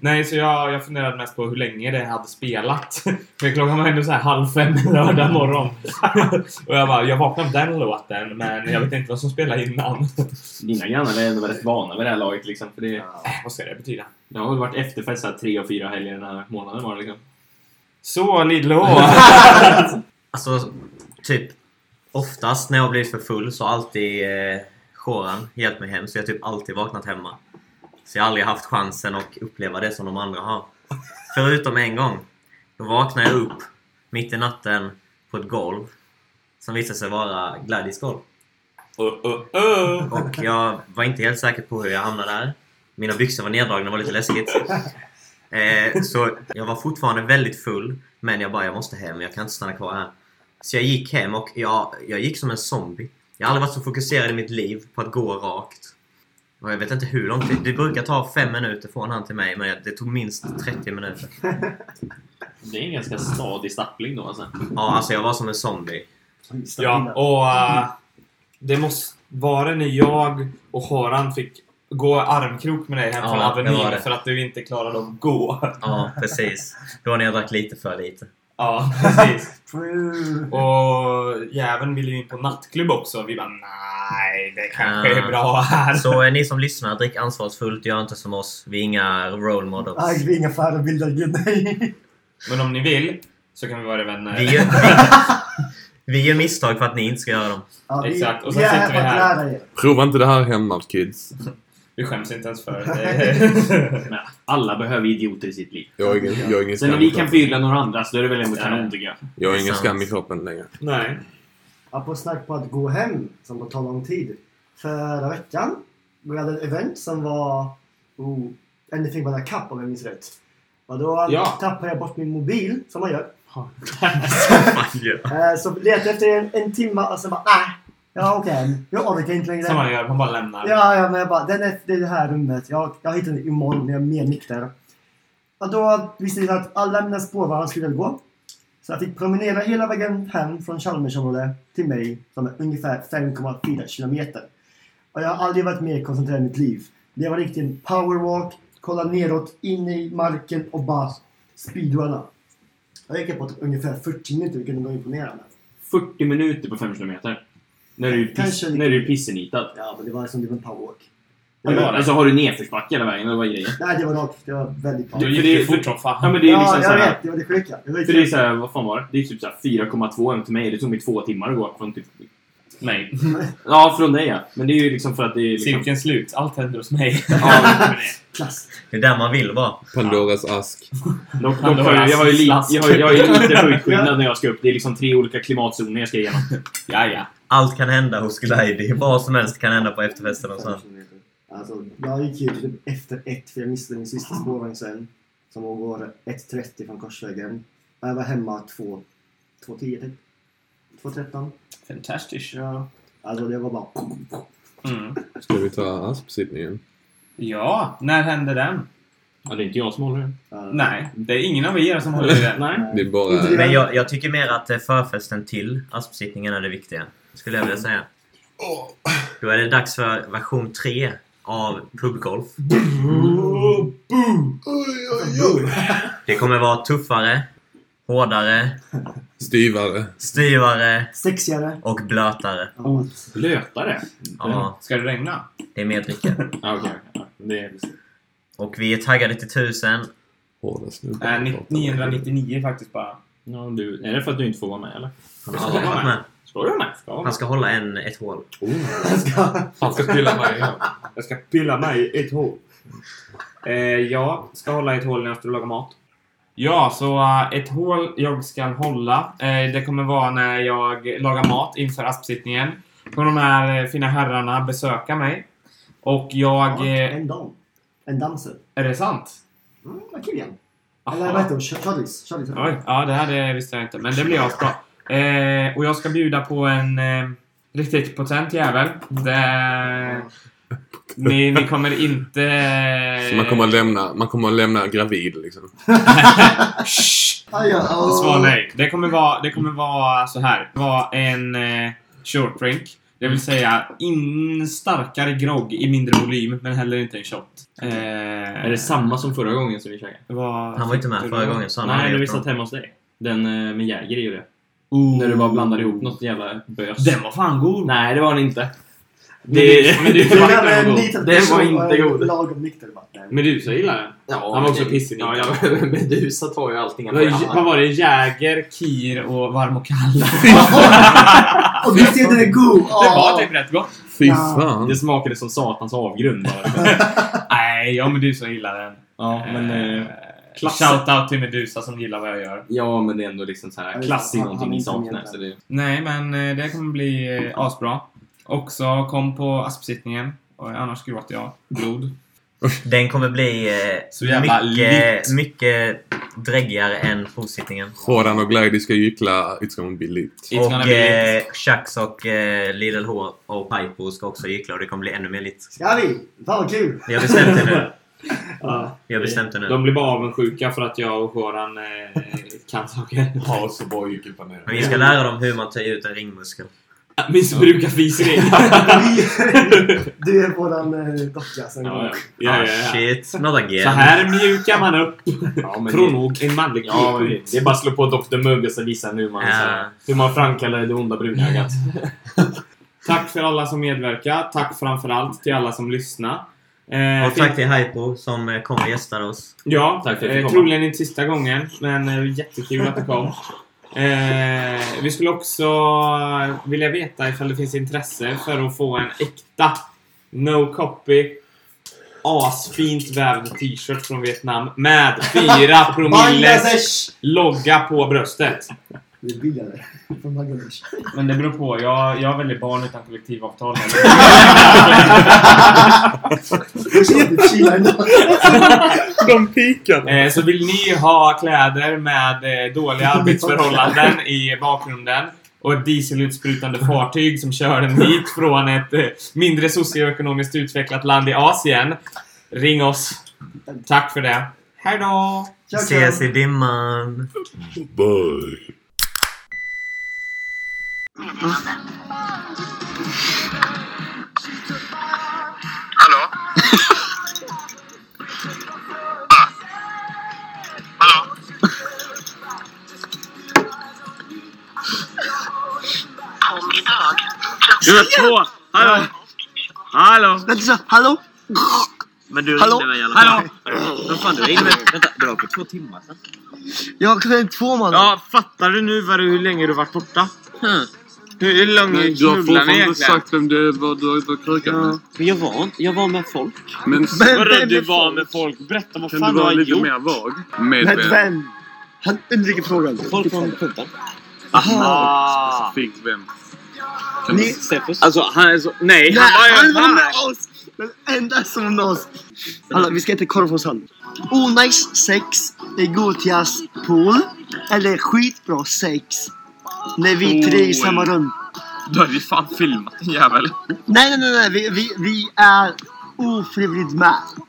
Speaker 1: Nej, så jag, jag funderade mest på hur länge det hade spelat. För klockan var ändå så här halv fem en lördag morgon. och jag bara, jag vaknade av den låten, men jag vet inte vad som spelade innan.
Speaker 4: Dina grannar är ändå rätt vana vid det här laget liksom. För det,
Speaker 1: Äh, vad ska det betyda?
Speaker 4: det har väl varit efterfest så här tre och fyra helger den här månaden var det liksom.
Speaker 1: Så, Lidlå.
Speaker 3: Alltså, typ oftast när jag blivit för full så har alltid eh, Shoran hjälpt mig hem. Så jag har typ alltid vaknat hemma. Så jag har aldrig haft chansen att uppleva det som de andra har. Förutom en gång. Då vaknade jag upp mitt i natten på ett golv. Som visade sig vara Gladys golv.
Speaker 1: oh, oh, oh.
Speaker 3: Och jag var inte helt säker på hur jag hamnade där. Mina byxor var neddragna, det var lite läskigt. Eh, så jag var fortfarande väldigt full, men jag bara, jag måste hem, jag kan inte stanna kvar här. Så jag gick hem och jag, jag gick som en zombie. Jag har aldrig varit så fokuserad i mitt liv på att gå rakt. Och jag vet inte hur lång tid. Det brukar ta fem minuter från han till mig, men jag- det tog minst 30 minuter.
Speaker 4: Det är en ganska stadig stappling då alltså.
Speaker 3: Ja, alltså jag var som en zombie.
Speaker 1: Ja, och eh, det måste vara när jag och Haran fick gå armkrok med dig hem
Speaker 3: Ja,
Speaker 1: från
Speaker 3: det var
Speaker 1: Avenyn
Speaker 3: det.
Speaker 1: för att du inte klarade att gå.
Speaker 3: Ja, precis. Det var när jag drack lite för lite.
Speaker 1: Ja, precis.
Speaker 5: True.
Speaker 1: Och jäveln ville ju in på nattklubb också. Vi bara nej, det kanske är bra här.
Speaker 3: Ah, Så eh, ni som lyssnar, drick ansvarsfullt, gör inte som oss. Vi är inga role models.
Speaker 5: Nej, vi är inga förebilder, gud nej.
Speaker 1: Men om ni vill så kan vi vara vänner.
Speaker 3: Vi gör, vi, vi gör misstag för att ni inte ska göra dem.
Speaker 5: Ja, vi,
Speaker 1: Exakt, och
Speaker 5: vi
Speaker 1: sen
Speaker 5: är här
Speaker 1: sitter vi
Speaker 5: för att
Speaker 1: här.
Speaker 5: lära er.
Speaker 2: Prova inte det här hemma, kids.
Speaker 1: Vi skäms inte ens för det.
Speaker 4: Men alla behöver idioter i sitt liv.
Speaker 2: Jag har ingen, jag har ingen
Speaker 4: Sen när
Speaker 2: skam
Speaker 4: vi
Speaker 2: i
Speaker 4: kan
Speaker 2: kroppen.
Speaker 4: fylla några andra så då är det väl ändå kanon tycker jag.
Speaker 2: Jag har ingen
Speaker 3: Sant.
Speaker 2: skam i kroppen längre.
Speaker 1: nej.
Speaker 5: Apropå snack på att gå hem, som på tal om tid. Förra veckan, vi hade ett event som var oh, Anything But A Cup om jag minns rätt. Och då
Speaker 1: Ja.
Speaker 5: tappade jag bort min mobil, som man gör.
Speaker 3: Fan, ja.
Speaker 5: Eh, så letade jag efter den en timme och sen bara ah, jag åker hem. Jag orkar inte längre.
Speaker 1: Som man gör, man bara lämnar.
Speaker 5: Ja, ja, men jag bara, den är det är det här rummet. Jag, jag hittar den imorgon när jag är mer nykter. Och då visste jag att alla mina spårvagnar skulle gå. Så jag fick promenera hela vägen hem från Chalmersområdet till mig, som är ungefär 5,4 kilometer. Och jag har aldrig varit mer koncentrerad i mitt liv. Det var riktigt en powerwalk, kolla neråt, in i marken och bara speedrunna. Jag gick på typ ungefär 40 minuter, vilket ändå är imponerande.
Speaker 4: 40 minuter på 5 kilometer. När du är, piss,
Speaker 5: Kanske lite.
Speaker 4: när du är pissenitad.
Speaker 5: Ja, men det var som det var en powerwalk. Det
Speaker 4: Ja,
Speaker 5: var,
Speaker 4: alltså har du nedförsbacke hela vägen eller vad är grejen?
Speaker 5: nej, det var rakt. Det var väldigt bra.
Speaker 1: Du
Speaker 4: Ja,
Speaker 1: gick
Speaker 4: det är-
Speaker 1: ju fort som
Speaker 4: Ja
Speaker 1: fan.
Speaker 4: men det är ju
Speaker 5: ja,
Speaker 4: liksom
Speaker 5: jag
Speaker 4: såhär...
Speaker 5: vet. Det var det sjuka. Det var
Speaker 4: För det är
Speaker 5: det
Speaker 4: såhär, vad fan var det? Det är typ såhär 4,2 hem till mig. Det tog mig två timmar att gå från typ... Nej. Ja, från dig ja. Men det är ju liksom för att det är liksom...
Speaker 1: Cirkeln slut. Allt händer hos mig.
Speaker 4: Ja,
Speaker 5: klass.
Speaker 3: Det är där man vill vara.
Speaker 2: Pandoras ask.
Speaker 4: dock, dock har jag, jag har ju li- jag har, ju- jag har ju lite höjdskillnad när jag ska upp. Det är liksom tre olika klimatzoner jag ska igenom.
Speaker 1: ja, ja.
Speaker 3: Allt kan hända hos Glidey. Vad som helst kan hända på efterfesten och sånt.
Speaker 5: Alltså, jag gick ju typ efter ett för jag missade min sista spårvagn sen. Som går 1.30 från Korsvägen. Och Jag var hemma två- 2.10 typ. 2.13.
Speaker 1: Fantastiskt.
Speaker 5: Ja. Alltså det var bara...
Speaker 1: Mm.
Speaker 2: Ska vi ta aspsippningen?
Speaker 1: Ja, när hände den?
Speaker 4: Ja, det är inte jag som håller den.
Speaker 5: Ja.
Speaker 1: Nej, det är ingen av er som håller i den.
Speaker 4: Nej.
Speaker 2: Det
Speaker 5: Eh,
Speaker 2: är bara...
Speaker 5: Inte det.
Speaker 3: Men jag, jag tycker mer att eh, förfesten till aspsittningen är det viktiga. Skulle jag vilja säga. Då är det dags för version 3 av pubgolf. Det kommer vara tuffare, hårdare,
Speaker 2: Styvare.
Speaker 3: styvare
Speaker 5: Sexigare.
Speaker 3: och blötare.
Speaker 4: Oh.
Speaker 5: Ja.
Speaker 4: Blötare?
Speaker 3: Ja,
Speaker 1: Ska det regna?
Speaker 3: det är mer dricka.
Speaker 4: Ja, okej. okej. Ja, det är...
Speaker 3: Och vi är taggade till tusen.
Speaker 2: Hårda snubbar.
Speaker 1: Nej, 999 faktiskt bara.
Speaker 4: Ja, du, är det för att du inte får vara med eller?
Speaker 3: Han har aldrig varit med.
Speaker 4: Ska du vara med? Ska vara
Speaker 3: Han
Speaker 4: med.
Speaker 3: ska hålla en, ett hål.
Speaker 2: Han ska pilla mig igen.
Speaker 1: Jag ska pilla mig i ett hår. Eh, jag ska hålla i ett hål när jag ska laga mat. Ja, så eh, ett hål jag ska hålla, eh, det kommer vara när jag lagar mat inför aspsittningen. Kommer de här eh, fina herrarna besöka mig. Och jag... Eh,
Speaker 5: En dam. En danser.
Speaker 1: är det sant?
Speaker 5: Mm, vad kul igen. Eller
Speaker 1: Aha.
Speaker 5: vad heter hon? Charlies? Charlies.
Speaker 1: Oj, ja det här det visste jag inte. Men det blir asbra. Eh, och jag ska bjuda på en eh, riktigt potent jävel. Det, ni, ni kommer inte...
Speaker 2: Så man kommer att lämna, man kommer att lämna gravid liksom.
Speaker 1: Shh!
Speaker 5: Aj, ja, åh.
Speaker 1: Svar nej. Det kommer vara, det kommer vara så här. Det var en eh, short drink. Det vill säga in starkare grogg i mindre volym, men heller inte en shot. Eh,
Speaker 4: Är det samma som förra gången som vi käkade?
Speaker 1: vad
Speaker 3: Han var inte med
Speaker 1: tyckte
Speaker 3: förra
Speaker 1: du?
Speaker 3: gången, så han hade
Speaker 4: Nej, när vi
Speaker 3: gjort
Speaker 4: satt
Speaker 3: något.
Speaker 4: hemma hos dig. Den eh, med Jäger i och det.
Speaker 1: Oh.
Speaker 4: När du bara blandade ihop något jävla bös.
Speaker 1: Den var fan god!
Speaker 4: Nej, det var den inte.
Speaker 1: Det-
Speaker 4: men du
Speaker 5: Det
Speaker 4: sa att
Speaker 5: där
Speaker 4: den
Speaker 5: med en
Speaker 4: var god.
Speaker 5: liten
Speaker 4: Den
Speaker 5: person
Speaker 4: var
Speaker 5: och
Speaker 4: inte
Speaker 5: en
Speaker 4: god.
Speaker 5: Lagom nykter bara. Nej.
Speaker 1: Men du så gillar den. Han var också pissig.
Speaker 4: Ja, ja, Medusa tar ju allting.
Speaker 1: Det var, vad var det? Jäger, Kir och Varm och kall.
Speaker 5: Och visst är den god?
Speaker 1: Det var typ rätt gott.
Speaker 2: Fy
Speaker 5: Ja.
Speaker 2: fan.
Speaker 4: Det smakade som satans avgrund bara.
Speaker 1: Nej, jag och Medusa gillar den.
Speaker 4: Ja, men... Eh, klass-
Speaker 1: Shout out till Medusa som gillar vad jag gör.
Speaker 4: ja, men det är ändå liksom så här klass i
Speaker 5: Han-
Speaker 4: någonting
Speaker 5: han är
Speaker 4: ni
Speaker 5: inte
Speaker 4: saknar.
Speaker 5: med
Speaker 4: Så det,
Speaker 1: Nej, men eh, det kommer bli eh, asbra. Också kom på aspsittningen. Och annars gråter jag blod.
Speaker 3: Den kommer bli eh,
Speaker 1: Så jävla
Speaker 3: mycket, mycket dräggigare än provsittningen.
Speaker 2: Jordan och Glady ska gyckla. It's gonna be lit.
Speaker 1: It's gonna
Speaker 3: Och
Speaker 1: be lit.
Speaker 3: eh, Chucks och eh, Lidl H och Pipo ska också gyckla och det kommer bli ännu mer lite.
Speaker 5: Ska vi? Fan vad kul!
Speaker 3: Vi har bestämt det nu.
Speaker 5: Ja.
Speaker 3: Vi har bestämt det nu.
Speaker 1: De blir bara avundsjuka för att jag och Goran eh, kan saker.
Speaker 2: Ja, så bra gyckelpanel.
Speaker 3: Men vi ska lära dem hur man tar ut en ringmuskel.
Speaker 1: Missbrukar fisring.
Speaker 5: Vi- Du är våran eh, docka sen
Speaker 1: ja, ja. Ja,
Speaker 5: ja,
Speaker 1: ja,
Speaker 3: Ah,
Speaker 1: ja.
Speaker 3: shit, not again.
Speaker 1: Så här mjukar man upp
Speaker 4: ja, men det,
Speaker 1: från en manlig
Speaker 4: ja, men
Speaker 1: kuk.
Speaker 4: det är bara att slå på Dr. Mugg och så visa hur man, så här,
Speaker 3: Ja.
Speaker 4: hur man framkallar det onda bruna ögat.
Speaker 1: Tack för alla som medverkar. Tack framförallt till alla som lyssnar. Eh,
Speaker 3: Och tack till Hypo som eh, kom och gästade oss.
Speaker 1: Ja,
Speaker 4: Tack för att jag fick
Speaker 1: eh,
Speaker 4: komma.
Speaker 1: troligen inte sista gången, men eh, jättekul att du kom. Eh, vi skulle också eh, vilja veta ifall det finns intresse för att få en äkta No Copy asfint vävd t-shirt från Vietnam med 4 promilles
Speaker 5: Bangladesh!
Speaker 1: logga på bröstet.
Speaker 5: Det är billigare. Från Bangladesh.
Speaker 1: Men det beror på. Jag, jag är väldigt barn utan kollektivavtal.
Speaker 5: Typ Kina ändå.
Speaker 2: De pikar.
Speaker 1: Eh, så vill ni ha kläder med eh, dåliga arbetsförhållanden i bakgrunden och ett dieselutsprutande fartyg som kör den hit från ett eh, mindre socioekonomiskt utvecklat land i Asien. Ring oss. Tack för det. Hejdå!
Speaker 5: Tja, tja.
Speaker 3: Ses i dimman.
Speaker 2: Bye.
Speaker 6: Hallå? Ah. Hallå? Kom idag. Klockan två. Hallå? Hallå? Vänta, så, hallå? Men du hallå? ringde mig i alla fall. Hallå? Vad fan, du ringde mig. Vänta, det var på två timmar sedan.
Speaker 7: Ja, klockan är två man.
Speaker 6: Ja, fattar du nu vad du, hur länge du varit borta? Hm. Hur lång är
Speaker 8: Du har
Speaker 6: knullan
Speaker 8: fortfarande
Speaker 6: egentligen?
Speaker 8: inte sagt vem det är vad du har ute och krukat med.
Speaker 7: Men jag var inte, jag var med folk.
Speaker 8: Men
Speaker 7: Men
Speaker 6: Vadå
Speaker 7: vem
Speaker 6: du
Speaker 7: är
Speaker 6: var
Speaker 7: folk?
Speaker 6: med folk? Berätta vad
Speaker 8: kan du
Speaker 6: fan du
Speaker 8: vara
Speaker 6: har
Speaker 8: lite
Speaker 6: gjort?
Speaker 8: mer vag? Med
Speaker 7: Med
Speaker 8: vem?
Speaker 7: vem? Han undviker frågan. Folk från puben.
Speaker 6: Ah.
Speaker 8: Fick vem?
Speaker 7: Ni,
Speaker 6: Alltså han är så... Nej,
Speaker 7: nej,
Speaker 6: han var
Speaker 7: han
Speaker 6: ju
Speaker 7: var
Speaker 6: här!
Speaker 7: med oss! Den enda som var med oss. Hallå, vi ska äta korv hos han. Onajs sex i Gotias pool. Eller skitbra sex. När vi tre är i samma rum.
Speaker 8: Du har ju fan filmat en jävel.
Speaker 7: Nej, nej, nej, nej. Vi, vi, vi är ofrivilligt med.